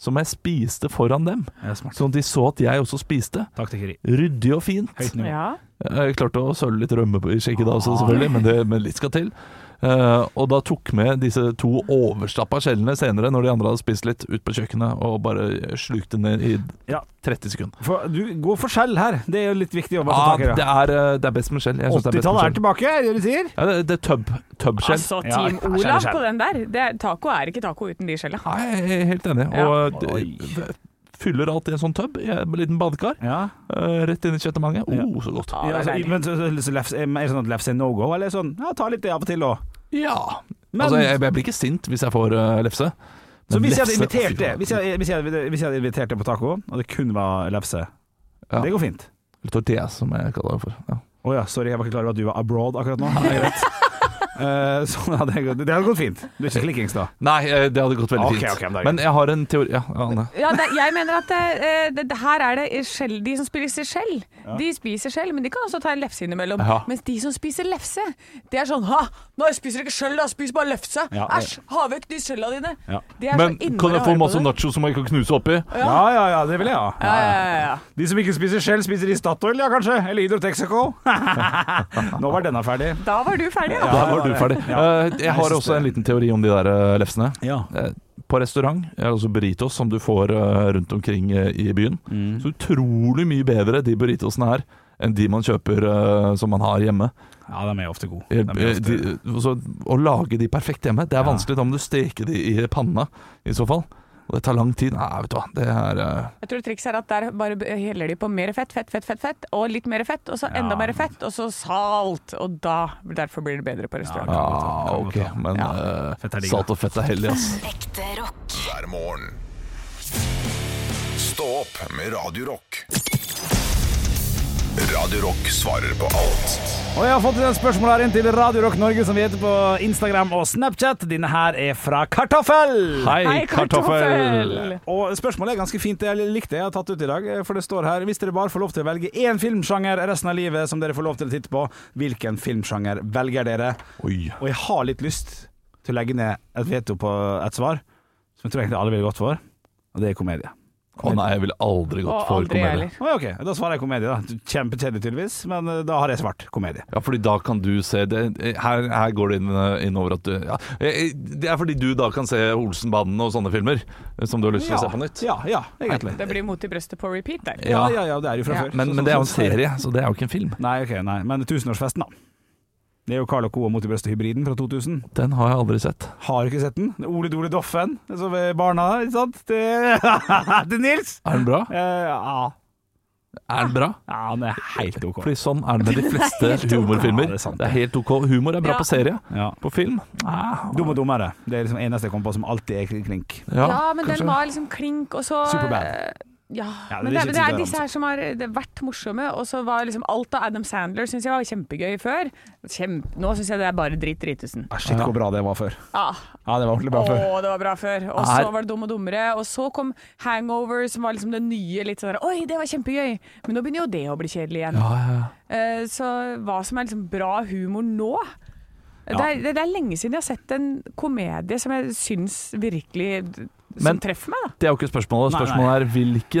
S2: som jeg spiste foran dem.
S3: Ja, smart.
S2: Sånn at de så at jeg også spiste.
S3: Taktikkeri.
S2: Ryddig og fint.
S3: Høyt nivå.
S4: Ja.
S2: Jeg klarte å søle litt rømme på- i skjegget da også, selvfølgelig, men, det, men litt skal til. Eh, og da tok med disse to overstappa skjellene senere, når de andre hadde spist litt, ut på kjøkkenet og bare slukte ned i
S3: Ja.
S2: 30 sekunder.
S3: For, du går for skjell her. Det er jo litt viktig å bare
S2: Ah,
S3: ta tak i
S2: det,
S3: det.
S2: er, eh, det er best med skjell. Jeg synes det er best
S3: 80-tallet er
S2: med skjell.
S3: tilbake, er det det du sier?
S2: Ja, det, det er tub, tubskjell.
S4: Altså,
S3: Ja,
S4: Team
S3: skjell er
S4: Olav
S3: skjell.
S4: på den der. Det er, taco er ikke taco uten de skjella.
S2: Nei, jeg er helt enig.
S4: Ja.
S2: Og eh,
S3: Oi.
S2: det, fyller alt i en sånn tub, i en liten badekar,
S3: Ja.
S2: eh, rett inn i kjøttemanget. Å, oh, så godt.
S4: Ja, det er
S3: altså,
S4: deilig.
S3: men så, så, så lefse, er det sånn at lefse er no go, eller er det sånn ja, ta litt av og til òg?
S2: Ja.
S3: Men-
S2: altså, jeg, jeg blir ikke sint hvis jeg får eh, lefse.
S3: Så
S2: Men
S3: hvis jeg hadde
S2: lefse-
S3: invitert
S2: Fy
S3: det
S2: faen.
S3: Hvis jeg, hvis jeg, hadde- hvis jeg hadde invitert det på taco, og det kun var lefse
S2: Ja.
S3: Det går fint.
S2: Eller tortilla, som jeg kaller det for. Ja.
S3: Å ja, sorry, jeg var ikke klar over at du var abroad akkurat nå. Det er greit. Eh, sånn hadde jeg gått. Det hadde gått fint. Du er ikke slikkings, da?
S2: Nei, eh, det hadde gått veldig
S3: Ok,
S2: fint.
S3: ok, men det er
S2: men jeg har en teori Ja, Anne.
S4: Ja, det, jeg mener at eh, det, det, her er det skjell, de som spiser skjell. De spiser skjell, men de kan også ta en lefse innimellom.
S2: Ja.
S4: Mens de som spiser lefse, det er sånn ha, nå spiser jeg ikke skjell, da, spis bare lefse.
S3: Ja, det-
S4: Æsj, ha vekk de skjella dine.
S3: Ja.
S4: De er
S2: Men
S4: så innmari
S2: kan jeg få
S4: harde på
S2: masse
S4: det.
S2: nacho som jeg kan knuse oppi?
S3: Ja, ja, ja, det vil jeg ha.
S4: Ja, ja, ja, ja.
S3: De som ikke spiser skjell, spiser i Statoil, ja kanskje? Eller Hydro Texaco? Nå var denne ferdig.
S4: Da var du ferdig, ja.
S2: Da var du ferdig. Eh, Jeg har
S3: synes
S2: også en
S3: det.
S2: liten teori om de der eh, lefsene.
S3: Ja.
S2: Eh, På restaurant, eller altså burritos, som du får eh, rundt omkring eh, i byen,
S3: Mm.
S2: så utrolig mye bedre de burritosene her enn de man kjøper eh, som man har hjemme.
S3: Ja, de er ofte gode.
S2: Eh,
S3: De er ofte...
S2: de, så, å lage de perfekt hjemme, det er vanskelig. Da må du steke de i panna, i så fall. Og det tar lang tid. Nei, vet du hva, det er eh,
S4: Jeg tror trikset er at der bare b- heller de på mer fett, fett, fett, fett, fett, og litt mer fett, og så enda mer fett, og så salt. Og da, derfor blir det bedre på restaurant.
S3: Ja.
S2: Ja,
S3: Kan godt
S2: ok,
S3: ta.
S2: men eh,
S3: Fett er digg,
S2: salt og fett er hellig, ass.
S5: Ekte rock.
S1: hver morgen. Stå opp med Radio Rock. Radio Rock svarer på alt
S3: Og jeg har fått et spørsmål her inn til Radio Rock Norge, som vi heter på Instagram og Snapchat. Denne her er fra Kartoffel.
S4: Hei, kartoffel!
S3: Og spørsmålet er ganske fint. Jeg likte det jeg har tatt ut i dag, for det står her Hvis dere bare får lov til å velge én filmsjanger resten av livet som dere får lov til å titte på, hvilken filmsjanger velger dere?
S2: Oi.
S3: Og jeg har litt lyst til å legge ned et veto på et svar som jeg tror egentlig alle ville gått for, og det er komedie.
S2: Å nei, jeg ville aldri gått
S4: Og
S2: for
S4: aldri
S2: komedie.
S4: heller.
S3: Å, ja, ok, Da svarer jeg komedie, da. Kjempekjedelig, tydeligvis, men eh, da har jeg svart komedie.
S2: Ja, fordi da kan du se det, eh, her, her går det inn, inn over at du ja. eh, Det er fordi du da kan se Olsenbanden og sånne filmer eh, som du har lyst til å se på nytt.
S3: Ja, ja, egentlig.
S4: Det blir mot i brøstet på repeat der.
S3: Ja, ja, ja, det er jo fra
S4: Ja.
S3: før.
S2: Men,
S3: Så-
S2: men det er jo en
S3: så- så-
S2: serie, så det er jo ikke en film.
S3: Nei, ok, nei, men tusenårsfesten, da. Det er jo Carl og Co. og Mot i brøstet-hybriden fra 2000.
S2: Den har jeg aldri sett.
S3: Har ikke sett den. Det er Ole Dole Doffen, som er barna der, ikke sant? Til, til Nils.
S2: Er den bra?
S3: Eh, ja.
S2: Er den bra?
S3: ja, han er helt OK.
S2: Fordi sånn er det med de fleste
S3: Ja,
S2: humorfilmer.
S3: det er sant,
S2: Det er helt ok. Humor er bra
S4: Ja.
S2: på serie.
S3: Ja.
S2: På film ah,
S3: Dum og dummere. Det er liksom eneste jeg kom på som alltid er klink.
S4: Ja, men
S2: kanskje.
S4: den var liksom klink, og så
S3: Superbad.
S4: eh, Ja,
S3: Ja,
S4: men
S3: det
S4: det,
S3: er
S4: er-
S3: ikke
S4: det er
S3: så
S4: disse her som har eh, vært morsomme, og så var liksom alt av Adam Sandler syns jeg var kjempegøy før. Kjempe, nå syns jeg det er bare drit dritesen.
S3: Ah, shit, hvor bra det var før.
S4: Ah.
S3: Ja, det var ordentlig
S4: Å,
S3: bra før.
S4: det var bra før. Og
S2: Er-
S4: så var det Dum og dummere. Og så kom Hangover, som var liksom det nye. Litt sånn der, Oi, det var kjempegøy! Men nå begynner jo det å bli kjedelig igjen.
S2: Ja, ja, ja.
S4: Eh, så hva som er liksom bra humor nå det, er, det, det er lenge siden jeg har sett en komedie som jeg syns virkelig Som
S2: Men-
S4: treffer meg, da.
S2: Det er jo ikke spørsmålet.
S3: Nei, nei.
S2: Spørsmålet er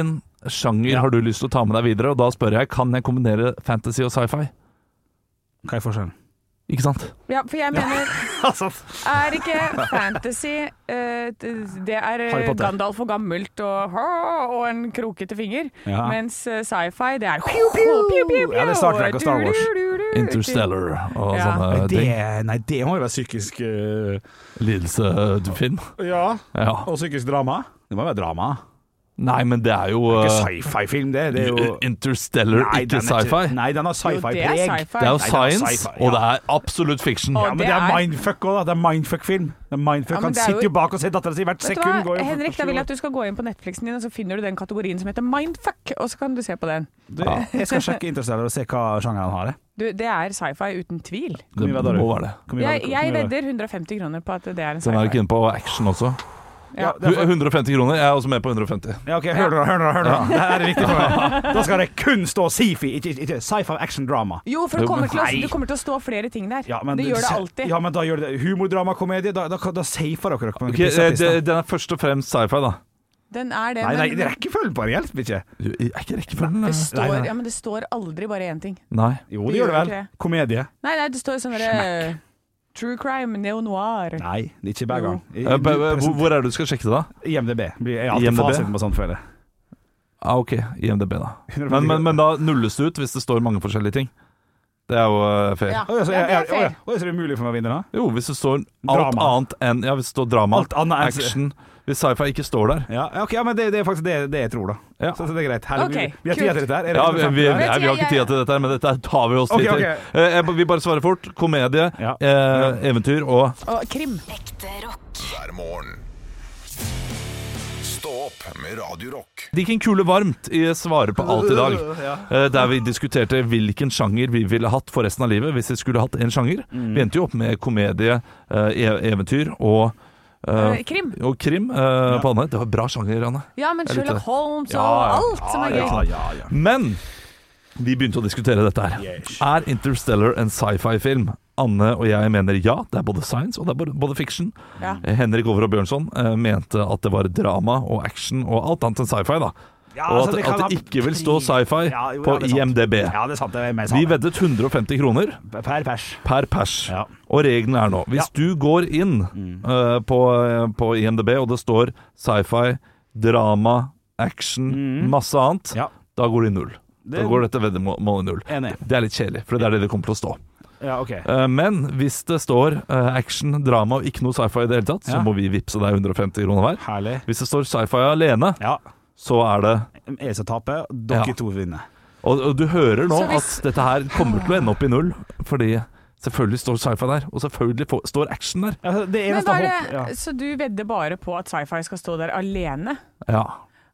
S2: hvilken sjanger har du lyst til å ta med deg videre? Og da spør jeg kan jeg kombinere fantasy og sci-fi.
S3: Hva er forskjellen?
S2: Ikke sant?
S4: Ja, for jeg mener
S3: Altså,
S4: Er ikke fantasy eh, d- Det er eh,
S3: Harry Potter.
S4: Gandalf og gammelt og, og en krokete finger.
S3: Ja.
S4: Mens eh, sci-fi, det er pew, pew, pew, pew,
S3: Ja, det er Star Trek og Star Wars.
S4: Du, du, du, du.
S2: Interstellar og
S4: Ja.
S2: sånne
S3: Nei, det,
S2: ting.
S3: nei, det må jo være psykisk eh,
S2: Lidelsefilm.
S3: Ja.
S2: Ja.
S3: Og psykisk drama. Det må jo være drama.
S2: Nei, men det er jo,
S3: Ikke
S2: eh,
S3: sci-fi-film, det. Det er jo
S2: Interstellar,
S3: Nei, den
S2: ikke
S3: er
S2: sci-fi.
S3: Nei, den har
S4: Jo, det er
S3: sci-fi-preg.
S2: Det er jo
S4: sci-fi.
S3: Nei, det er
S2: science,
S3: sci-fi,
S2: og det
S3: ja.
S2: er absolutt fiction.
S4: Og
S3: Ja, men det er
S4: det er-
S3: mindfuck òg, da. Det er mindfuck-film. Det er mindfuck
S4: Ja, men
S3: Han
S4: det er jo-
S3: sitter jo bak og ser dattera si
S4: Vet
S3: hvert
S4: du
S3: sekund.
S4: hva, Henrik, da vil jeg at du skal gå inn på Netflixen din, og så finner du den kategorien som heter Mindfuck, og så kan du se på den.
S3: Jeg skal sjekke Interstellar og se hva sjangeren han har. jeg.
S4: Du, det er sci-fi uten tvil.
S3: Hvor
S2: Det
S3: mye var det, du? Sånn
S2: må være det.
S3: Hvor mye var
S4: Jeg,
S3: det- hvor
S4: jeg
S3: mye var det?
S4: vedder 150 kroner på at det er en
S2: Den er jeg
S4: sci-fi.
S2: ikke inne på. Og action også.
S4: Ja,
S3: det er for-
S2: 150 kroner. Jeg er også med på 150.
S3: Ja, ok, hør nå, hør nå, hør nå. Det her er viktig for meg. Da skal det kun stå sci-fi, ikke, ikke sci-fi action drama.
S4: Jo, for det
S2: Jo, men
S4: kommer til, å,
S3: nei.
S4: det kommer til å stå flere ting der.
S3: Ja, men
S4: det gjør det alltid.
S3: Ja, men da gjør det humordramakomedie. Da, da, da safer dere dere på en
S2: Ok, eh,
S3: pisseartist, da.
S2: det- den er først og fremst sci-fi, da.
S4: Den er det,
S3: Nei, nei,
S4: men
S3: det rekkefølgen bare hjelper ikke.
S2: Du, Er ikke rekkefølgen eh,
S4: det
S3: Nei, nei.
S4: står, ja, men det står aldri bare én ting.
S2: Nei.
S3: Jo,
S4: Det
S3: det gjør
S4: gjør
S3: det vel.
S4: ikke det.
S3: Komedie.
S4: Nei, nei, det står sånn derre True crime, neo-noir.
S3: Nei, det er ikke hver gang. I-
S2: Eh, b-
S3: du-
S2: Hvor hvor er det du skal sjekke det, da?
S3: IMDb. Blir jeg alltid
S2: IMDb?
S3: fasiten på sånt, føler jeg.
S2: Ja, Ah, ok, IMDb da
S3: 150
S2: men, men, men da nulles det ut hvis det står mange forskjellige ting Det er jo eh, fair
S4: Ja,
S3: Oi, altså, jeg-
S4: ja, det
S3: jeg-
S4: er
S3: oi,
S4: fair.
S3: oi, Så det er umulig for meg å vinne, da?
S2: Jo, hvis det står alt
S3: Drama.
S2: annet enn Ja, hvis det står drama,
S3: Alt annet enn-
S2: action Hvis sci-fi ikke står der
S3: Ja, ja, ok, ja, men det, det er faktisk det, det jeg tror, da.
S2: Ja.
S3: Så, så det er greit. Herre,
S4: Ok,
S3: vi, vi har tid til
S4: kult.
S3: dette her. Er det
S2: ja, vi,
S3: 150
S2: vi,
S3: her?
S2: vi, vi har ikke tid til dette, her, men dette her tar vi oss tid
S3: Ok, ok.
S2: til. Eh, jeg ba- Vi bare svarer fort. Komedie,
S3: Ja.
S2: eh, eventyr og
S4: Og krim.
S5: Ekte rock.
S1: hver morgen. Stå opp med Radio Rock.
S2: Det gikk en kule varmt i Svaret på alt i dag.
S3: Ja.
S2: eh, Der vi diskuterte hvilken sjanger vi ville hatt for resten av livet hvis vi skulle hatt en sjanger.
S3: Mm.
S2: Vi endte jo opp med komedie, eh, e- eventyr og eh,
S4: Eh, Krim.
S2: Og krim eh, på annet. Det var bra sjanger, Anne.
S4: Ja, men
S2: Jeg likte
S4: Sherlock
S2: det.
S4: Holmes og
S2: Ja, ja.
S4: alt som er gøy.
S3: sånn- Ja, ja, ja.
S2: Men vi begynte å diskutere dette her.
S3: Yes.
S2: Er Interstellar en sci-fi-film? Anne og jeg mener ja, det er både science og det er både- både fiction.
S4: Ja.
S2: Eh, Henrik Over og Bjørnson eh, mente at det var drama og action og alt annet enn sci-fi, da.
S3: Ja,
S2: og
S3: altså,
S2: at
S3: det
S2: det,
S3: kan
S2: at
S3: ha-
S2: det ikke vil stå sci-fi
S3: Ja, jo, ja,
S2: på
S3: det er sant.
S2: IMDb.
S3: Ja, det er sant. Det er mer sant.
S2: Vi veddet 150 kroner
S3: Per pers.
S2: per pers.
S3: Ja. Mm.
S2: Og regelen er nå Hvis du går inn eh, på, på IMDb, og det står sci-fi, drama, action, masse annet,
S3: Mm. Ja.
S2: da går det i null. Da
S3: Det-
S2: går dette veddemålet i null.
S3: Enig.
S2: Det er litt kjedelig, for det er det det kommer til å stå.
S3: Ja, ok.
S2: Eh, Men hvis det står eh, action, drama og ikke noe sci-fi i det hele tatt, så
S3: Ja.
S2: må vi vippse deg 150 kroner hver.
S3: Herlig.
S2: Hvis det står sci-fi alene,
S3: Ja.
S2: så er det
S3: Jeg som taper, dere
S2: Ja.
S3: to vinner.
S2: Og, og du hører nå
S4: Så hvis-
S2: at dette her kommer til å ende opp i null, fordi selvfølgelig står sci-fi der, og selvfølgelig få- står action der.
S3: Altså, det
S4: Men
S3: eneste
S4: bare,
S3: håp ja.
S4: Så du vedder bare på at sci-fi skal stå der alene?
S2: Ja.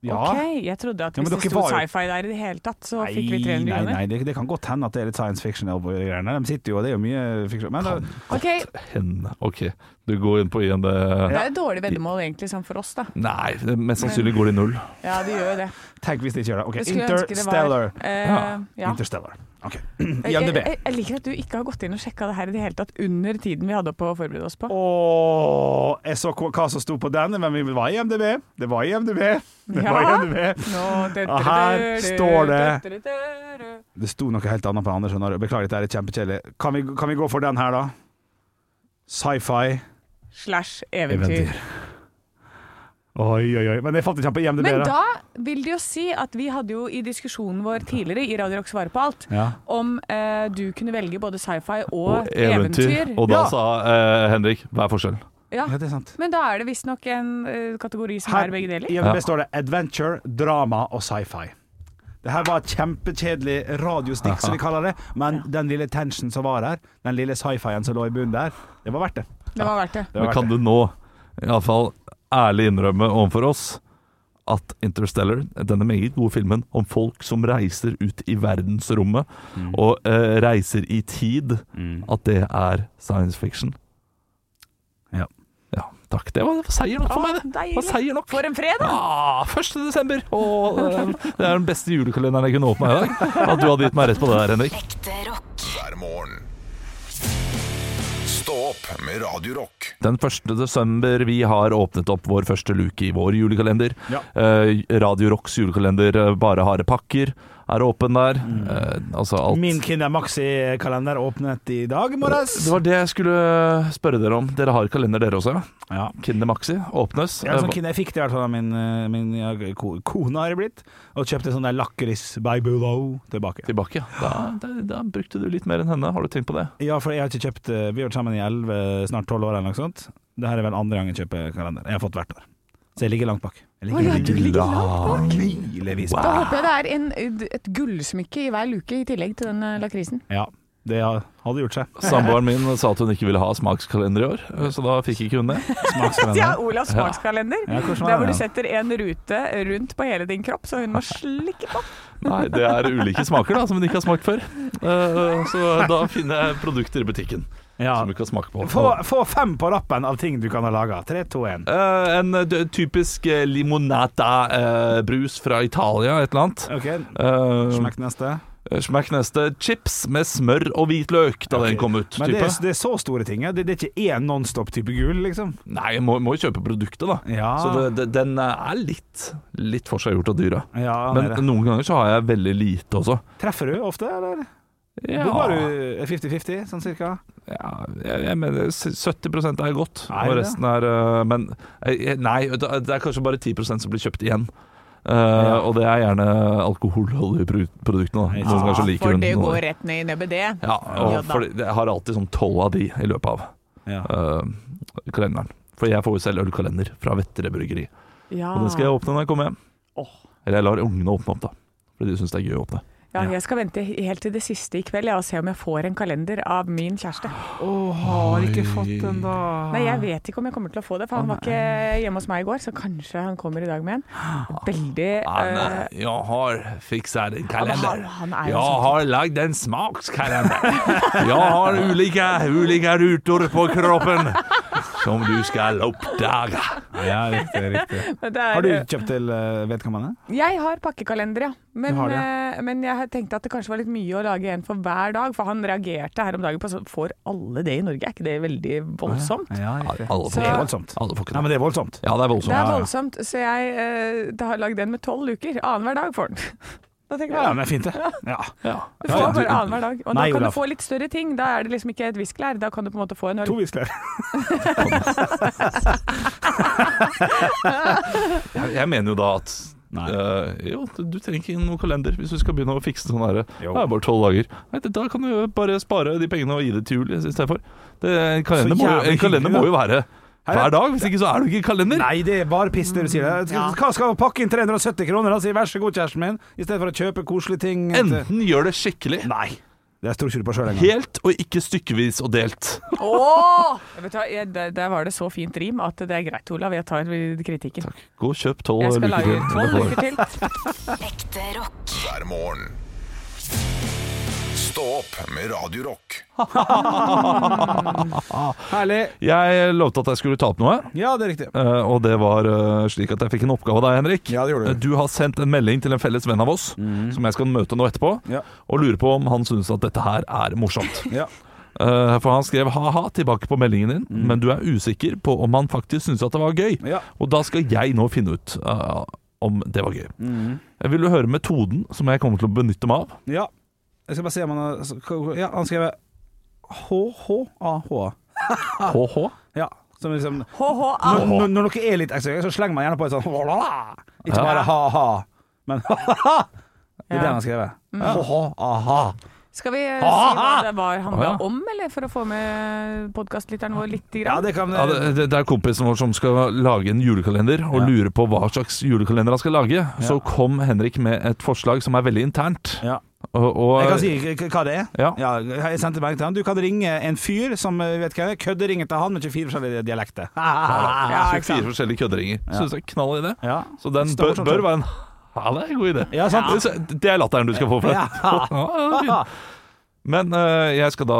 S3: ja.
S4: Ok, jeg trodde at
S3: Ja, men
S4: hvis det
S3: dere
S4: sto
S3: var jo-
S4: sci-fi der i det hele tatt, så
S3: Nei,
S4: fikk vi 300
S3: nei, nei,
S4: kroner.
S3: det, det kan godt hende at det er litt science fiction. over greiene. De sitter jo, og det er jo mye fiksjon. Men eh, da-
S4: Ok,
S2: Hen. Ok, du går inn på IMD
S4: det er et dårlig veddemål egentlig sånn for oss, da.
S2: Nei, mest sannsynlig går det i null.
S4: Ja, det gjør jo det.
S3: tenk hvis de ikke gjør det. Ok,
S4: Jeg skulle ønske det var
S3: Interstellar.
S4: eh, ja.
S3: Interstellar. Ok,
S4: Jeg,
S3: IMDb.
S4: jeg, jeg liker at du ikke har gått inn og sjekka det her i det hele tatt under tiden vi hadde på å forberede oss på.
S3: Åh, jeg så hva hva som sto på den, men vi var i MDB. Det var i MDB. Det var i
S4: Ja.
S3: MDB.
S4: Nå-
S3: Og her står det-
S4: Dødderudøru.
S3: Det sto noe helt annet på den andre, skjønner du. Beklager, dette er kjempekjedelig. Kan, vi- kan vi gå for den her, da? Sci-fi.
S4: Slash eventyr.
S3: Oi, oi, oi. Men jeg fant ikke han på IMDb,
S4: Men da vil det jo si at vi hadde jo i diskusjonen vår tidligere i Radio Rock Svaret på alt,
S3: Ja.
S4: om eh, du kunne velge både sci-fi og,
S2: Og
S4: eventyr.
S2: eventyr. Og da
S3: Ja.
S2: sa eh, Henrik hva er forskjellen?
S4: Ja.
S3: Ja, det er sant.
S4: Men da er det visstnok en eh, kategori som
S3: Her
S4: Ah. er begge deler.
S3: I MDB
S2: Ja.
S3: står det adventure, drama og sci-fi. Det her var et kjempekjedelig radiostikk, som vi kaller det. Men den lille tension som var her, den lille sci-fien som lå i bunnen der, det var verdt det.
S4: Det var verdt det.
S3: det var
S2: Men
S3: verdt
S2: kan
S3: det.
S2: du nå iallfall ærlig innrømme overfor oss at Interstellar, denne meget gode filmen om folk som reiser ut i verdensrommet og eh, reiser i tid,
S3: Mm.
S2: at det er science fiction.
S3: Ja.
S2: Ja, takk. Det var, det var seier nok for
S4: Ah,
S2: meg, det. det.
S4: deilig.
S2: Var seier nok.
S4: For en fredag!
S2: Ah, 1. desember! Åh, det er den beste julekalenderen jeg kunne åpna i dag. At du hadde gitt meg rett på det der, Henrik.
S5: Ekte rock.
S1: hver morgen. Stå opp med Radio Rock.
S2: Den 1. desember vi har åpnet opp vår første luke i vår julekalender.
S3: Ja.
S2: Eh, Radio Rocks julekalender eh, Bare harde pakker er åpen der. Eh, altså alt.
S3: Mm. Min Kinder Maxi-kalender åpnet i dag morges.
S2: Det var det jeg skulle eh, spørre dere om. Dere har kalender dere også? ja?
S3: Ja.
S2: Kinder Maxi åpnes.
S3: Ja, sånn
S2: Eh,
S3: Kinder jeg fikk det i hvert fall av min, eh, min ja, ko, kone, har det blitt. Og kjøpte sånn der lakris by below tilbake.
S2: tilbake. ja. Da, da, da brukte du litt mer enn henne, har du tenkt på det?
S3: Ja, for jeg har ikke kjøpt eh, Vi har vært sammen i 11, snart 12 år eller noe sånt. Det her er vel andre gang jeg kjøper kalender. Jeg har fått hvert år. Så jeg ligger langt bak. Jeg ligger, milevis bak.
S2: Wow.
S4: Da håper jeg det er en, et gullsmykke i hver luke i tillegg til den eh, lakrisen.
S3: Ja, det har- hadde gjort seg.
S2: Samboeren min sa at hun ikke ville ha smakskalender i år, eh, så da fikk ikke hun det.
S4: Ja,
S3: Smakskalender.
S4: Olavs smakskalender.
S3: Ja, hvordan var
S4: der hvor
S3: den?
S4: du setter en rute rundt på hele din kropp, så hun må slikke på.
S2: Nei, det er ulike smaker da, som hun ikke har smakt før. Eh, Så da finner jeg produkter i butikken
S3: Ja.
S2: som hun kan smake på.
S3: Få, få fem på rappen av ting du kan ha laga. Tre, to, én.
S2: Eh, en eh, d- typisk eh, limonata-brus fra Italia, et eller annet.
S3: OK,
S2: Eh,
S3: smekk neste.
S2: Smakk neste. Chips med smør og hvitløk da den kom ut.
S3: Men det
S2: Type.
S3: er, det er så store ting. ja. Det, det er ikke én nonstop-type gull, liksom.
S2: Nei, må, må jo kjøpe produktet, da.
S3: Ja.
S2: Så det, det, den eh, er litt, litt forseggjort av dyra.
S3: Ja,
S2: Men
S3: det er det.
S2: noen ganger så har jeg veldig lite også.
S3: Treffer du ofte, eller?
S2: Ja,
S3: Bommer du 50-50, sånn cirka?
S2: ja jeg, jeg mener s- 70 er godt,
S3: Er
S2: og
S3: det?
S2: resten er eh, Men eh, nei, det det er kanskje bare 10 som blir kjøpt igjen. Eh, Og det er gjerne alkoholholdige pro- produktene. Da. Noen ganger så liker
S4: For
S2: hun
S4: det
S2: noe.
S4: går rett ned i nebbet, det.
S2: Ja, og
S4: Ja da.
S2: fordi jeg har alltid sånn tolv av de i løpet av
S3: Ja.
S2: eh, kalenderen. For jeg får jo selv ølkalender fra Vettere bryggeri.
S4: Ja.
S2: Og den skal jeg åpne når jeg kommer hjem.
S4: Åh.
S2: Eller jeg lar ungene åpne opp, da. Fordi de syns det er gøy å åpne.
S4: Ja, jeg skal vente helt til det siste i kveld jeg, og se om jeg får en kalender av min kjæreste.
S3: har ikke fått den, da.
S4: Nei, Jeg vet ikke om jeg kommer til å få det, for han var ikke hjemme hos meg i går. Så kanskje han kommer i dag med en. Veldig
S2: Ah,
S4: eh,
S2: jeg har fiksa en
S4: kalender. Ja, men han- han er jo Jeg sånn.
S2: lagd en smakskalender. Jeg har ulike, ulike ruter på kroppen som du skal oppdage.
S3: Ja, riktig, riktig.
S4: men det er,
S3: Har du kjøpt til eh, vedkommende?
S4: Jeg har pakkekalender, ja. Men,
S3: Du har det,
S4: eh, men jeg tenkte at det kanskje var litt mye å lage en for hver dag. For han reagerte her om dagen på sånn Får alle det i Norge? Er ikke det veldig voldsomt?
S3: Ja,
S2: Alle
S3: riktig.
S2: får
S3: Det er
S2: ikke det.
S3: voldsomt.
S2: Alle får ikke det.
S3: Nei, men det er voldsomt.
S2: Ja, det er
S4: Det
S2: voldsomt.
S4: er
S3: ja.
S4: voldsomt, så jeg eh, da har jeg lagd en med tolv uker. Annenhver dag får den. Da tenker
S3: Ja,
S4: jeg
S3: men det er fint, det. Ja.
S4: Du får
S3: Ja, ja.
S4: bare annenhver dag. Og
S3: Nei,
S4: da kan
S3: Olav.
S4: du få litt større ting. Da er det liksom ikke et viskelær. Da kan du på en måte få en øl.
S3: To viskelær.
S2: Jeg, jeg mener jo da at
S3: Nei.
S2: eh, jo, du, du trenger ikke noen kalender hvis du skal begynne å fikse sånn her. Det
S3: Jo.
S2: er bare tolv dager. Nei, det- da kan du jo bare spare de pengene og gi det til jul istedenfor. En kalender,
S3: Så
S2: må, jo-
S3: jævlig
S2: en kalender
S3: hyggelig,
S2: må jo være
S3: Her er-
S2: hver dag, hvis ikke så er du ikke en kalender.
S3: Nei, det er bare piss det du sier.
S4: Mm,
S3: Hva skal jeg pakke inn 370 kroner? Da sier vær så god, kjæresten min, i stedet for å kjøpe koselige ting. til-
S2: Enten gjør det skikkelig,
S3: Nei. Det tror ikke du på sjøl engang.
S2: helt og ikke stykkevis og delt.
S4: Åh! Jeg vet hva, jeg- Der der var det så fint rim at det er greit, Olav. Jeg tar kritikken.
S2: Gå og kjøp tolv
S4: Jeg skal
S2: luker
S4: lage
S2: til.
S4: tolv uker til.
S5: Ekte rock.
S1: hver morgen. Stå opp med Radio Rock.
S3: Herlig.
S2: Jeg lovte at jeg skulle ta opp noe.
S3: Ja, det er riktig.
S2: Eh, og det var eh, slik at jeg fikk en oppgave av deg, Henrik.
S3: Ja, det gjorde du.
S2: Eh, har sendt en melding til en felles venn av oss, som jeg skal møte nå etterpå,
S3: Ja.
S2: og lurer på om han syns at dette her er morsomt.
S3: Ja.
S2: Eh, for han skrev ha-ha tilbake på meldingen din, men du er usikker på om han faktisk syns at det var gøy.
S3: Mhm. Ja.
S2: Og da skal jeg nå finne ut eh, om det var gøy.
S3: Mhm.
S2: Jeg vil jo høre metoden som jeg kommer til å benytte meg av.
S3: ja. Jeg skal bare se om han har Ja, han skrev HHAH.
S2: HH.
S3: Ja. Som liksom
S4: HHA.
S3: når, når, når dere er litt ekstra gøy, så slenger man gjerne på et sånn «Hå-la-la». Ikke bare ha-ha, men ha-ha. Det er det han har skrevet. Ha-ha-ha.
S4: Skal vi eh, si hva det var handla om, eller for å få med podkastlytteren vår litt?
S3: Ja,
S4: Grann?
S3: det kan
S2: Ja, det, det- det er kompisen vår som skal lage en julekalender, og
S3: Ja.
S2: lurer på hva slags julekalender han skal lage. Så kom Henrik med et forslag som er veldig internt.
S3: Ja.
S2: Og, og,
S3: Jeg kan si k- hva det er.
S2: Ja.
S3: jeg sendte melding til han. Du kan ringe en fyr som eh, vet hva det er. Kødderinger til han med 24 forskjellige dialekter.
S4: Ja, ikke
S2: 24 forskjellige kødderinger. Synes det er knall idé.
S3: Ja.
S2: Så den bør, bør være en Ja, det er en god idé.
S3: sånn. Ja, sant.
S2: Det- så Det er latteren du skal få for det.
S3: Ja.
S2: Ja, det er fint. Men eh, jeg skal da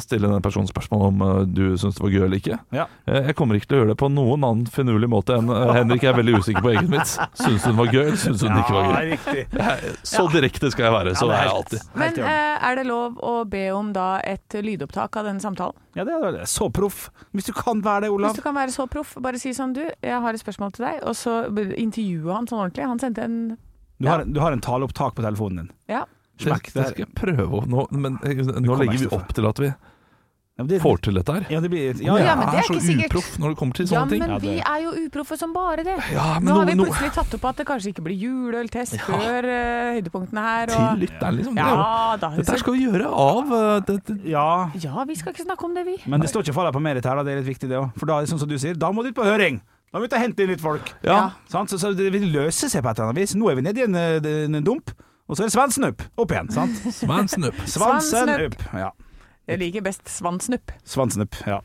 S2: stille den personen spørsmål om eh, du syns det var gøy eller ikke.
S3: Ja.
S2: Eh, jeg kommer ikke til å gjøre det på noen annen finurlig måte enn eh, Henrik er veldig usikker på egen vits. Syns hun var gøy, eller syns hun ikke var gøy?
S3: riktig.
S2: Så direkte skal jeg være. Så det er jeg alltid.
S4: Men
S3: Helt i orden.
S4: eh, er det lov å be om da et lydopptak av denne samtalen?
S3: Ja, det er det. Så proff. Hvis du kan være
S4: Hvis
S3: det, Olav.
S4: du kan være så proff, bare si sånn du, jeg har et spørsmål til deg. Og så intervjue han sånn ordentlig. Han sendte en
S3: Du har, du har en taleopptak på telefonen din.
S4: ja.
S2: Det,
S3: Smekk
S2: det
S3: der.
S2: skal jeg prøve å nå, Men eh, nå
S3: kommer
S2: legger
S3: ikke
S2: vi
S3: til
S2: opp til at vi
S3: Ja, men det-
S2: får til dette her.
S3: Ja, det blir
S2: Og
S3: ja,
S2: jeg
S3: ja.
S4: Ja, men det er ikke
S2: så
S4: sikkert.
S2: uproff når det kommer til
S4: Ja,
S2: sånne
S4: men
S2: ting.
S3: Ja, det-
S4: vi er jo uproffe som bare det.
S2: Ja, men
S4: Nå har
S2: noe-
S4: vi
S2: noe-
S4: plutselig tatt opp at det kanskje ikke blir juleøltest før eh, høydepunktene her.
S2: Til
S4: Og...
S2: lytteren, liksom. Det er jo-
S4: Ja, da,
S2: Dette her skal vi gjøre av eh, det, det,
S3: ja.
S4: ja, vi skal ikke snakke om det, vi.
S3: Men det står ikke faller på merit her, da. det er litt viktig det òg. For da, er det sånn som du sier, da må du ut på høring! Da må du ut og hente inn litt folk.
S2: Ja.
S3: Sant? Så, så det vil løse seg på et eller annet vis. Nå er vi nede i en, eh, en dump, og så er det svansen opp. Opp igjen, sant?
S2: Svansen opp.
S3: Svansen
S4: Svansen
S3: opp. Ja.
S4: Jeg liker best svansnupp.
S3: Svansen opp, ja.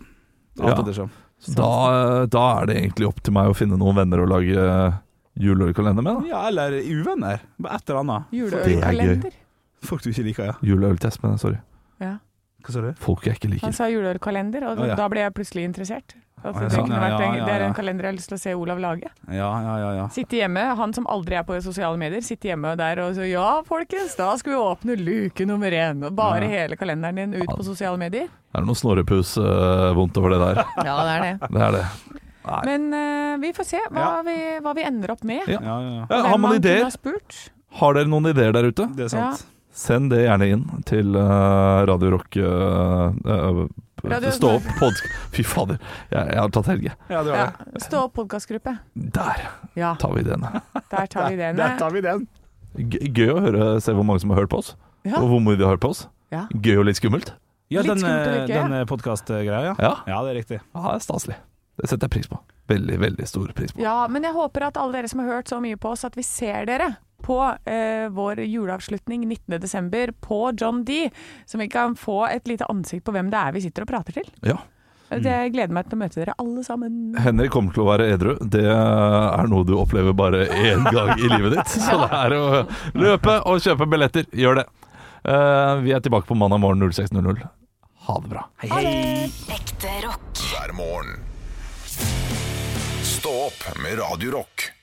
S2: Ja.
S3: Alt ettersom.
S2: Da, eh, da er det egentlig opp til meg å finne noen venner å lage eh, juleølkalender med.
S3: Ja, eller uvenner. Bare Et eller annet.
S4: Juleølkalender.
S3: Folk du ikke liker, ja.
S2: da Juleøltest, men sorry.
S4: Ja.
S3: Hva sa du?
S2: Folk jeg ikke
S4: Han
S2: liker.
S4: sa juleølkalender, og
S3: Å, ja.
S4: da ble jeg plutselig interessert. Altså,
S3: Å, ja,
S4: det,
S3: sånn,
S4: kunne vært,
S3: ja,
S4: en-
S3: ja,
S4: det er
S3: ja.
S4: en kalender jeg har lyst til å se Olav lage.
S3: Ja, ja, ja. ja.
S4: Sitte hjemme, han som aldri er på sosiale medier, sitte hjemme der og så Ja, folkens, da skal vi åpne luke nummer én. Og bare hele kalenderen din ut på sosiale medier.
S2: Det er noe snorrepus eh, vondt over det der.
S4: Ja, det er det.
S2: Det er det.
S4: Men eh, vi får se hva,
S3: Ja.
S4: vi, hva vi ender opp med.
S2: Ja.
S3: ja, ja,
S2: Ja,
S3: ja.
S4: Hvem
S2: har man
S4: man kunne ha
S2: ideer?
S4: spurt.
S2: Har dere noen ideer der ute?
S3: Det er sant.
S2: Send det gjerne inn til eh, Radio Rock eh, eh,
S4: Radio-
S2: Stå opp podk... Fy fader, jeg, jeg har tatt helge.
S3: Ja, det var
S4: Ja.
S3: det.
S4: Stå opp podkastgruppe.
S2: Der
S4: Ja,
S2: tar vi ideene.
S4: der tar vi ideene.
S3: Der tar vi den.
S2: G gøy å høre, se hvor mange som har hørt på oss,
S4: Ja.
S2: og hvor mye de har hørt på oss.
S4: Ja.
S2: Gøy og litt skummelt.
S3: Ja,
S4: Litt
S3: den, eh,
S4: skummelt å like, ja.
S3: den podkastgreia, ja.
S2: Ja.
S3: Ja, det er riktig.
S2: Ja, det er staselig. Det setter jeg pris på. Veldig, veldig stor pris på.
S4: Ja, men jeg håper at alle dere som har hørt så mye på oss, at vi ser dere på eh, vår juleavslutning 19.12. på John D. Så vi kan få et lite ansikt på hvem det er vi sitter og prater til.
S2: Ja.
S4: Det gleder meg til å møte dere alle sammen.
S2: Henrik kommer til å være edru. Det er noe du opplever bare én gang i livet ditt. Så det er å løpe og kjøpe billetter. Gjør det. Eh, vi er tilbake på mandag morgen 06.00. Ha det bra.
S5: Ekte rock.
S1: hver morgen. Stå opp med Radio Rock.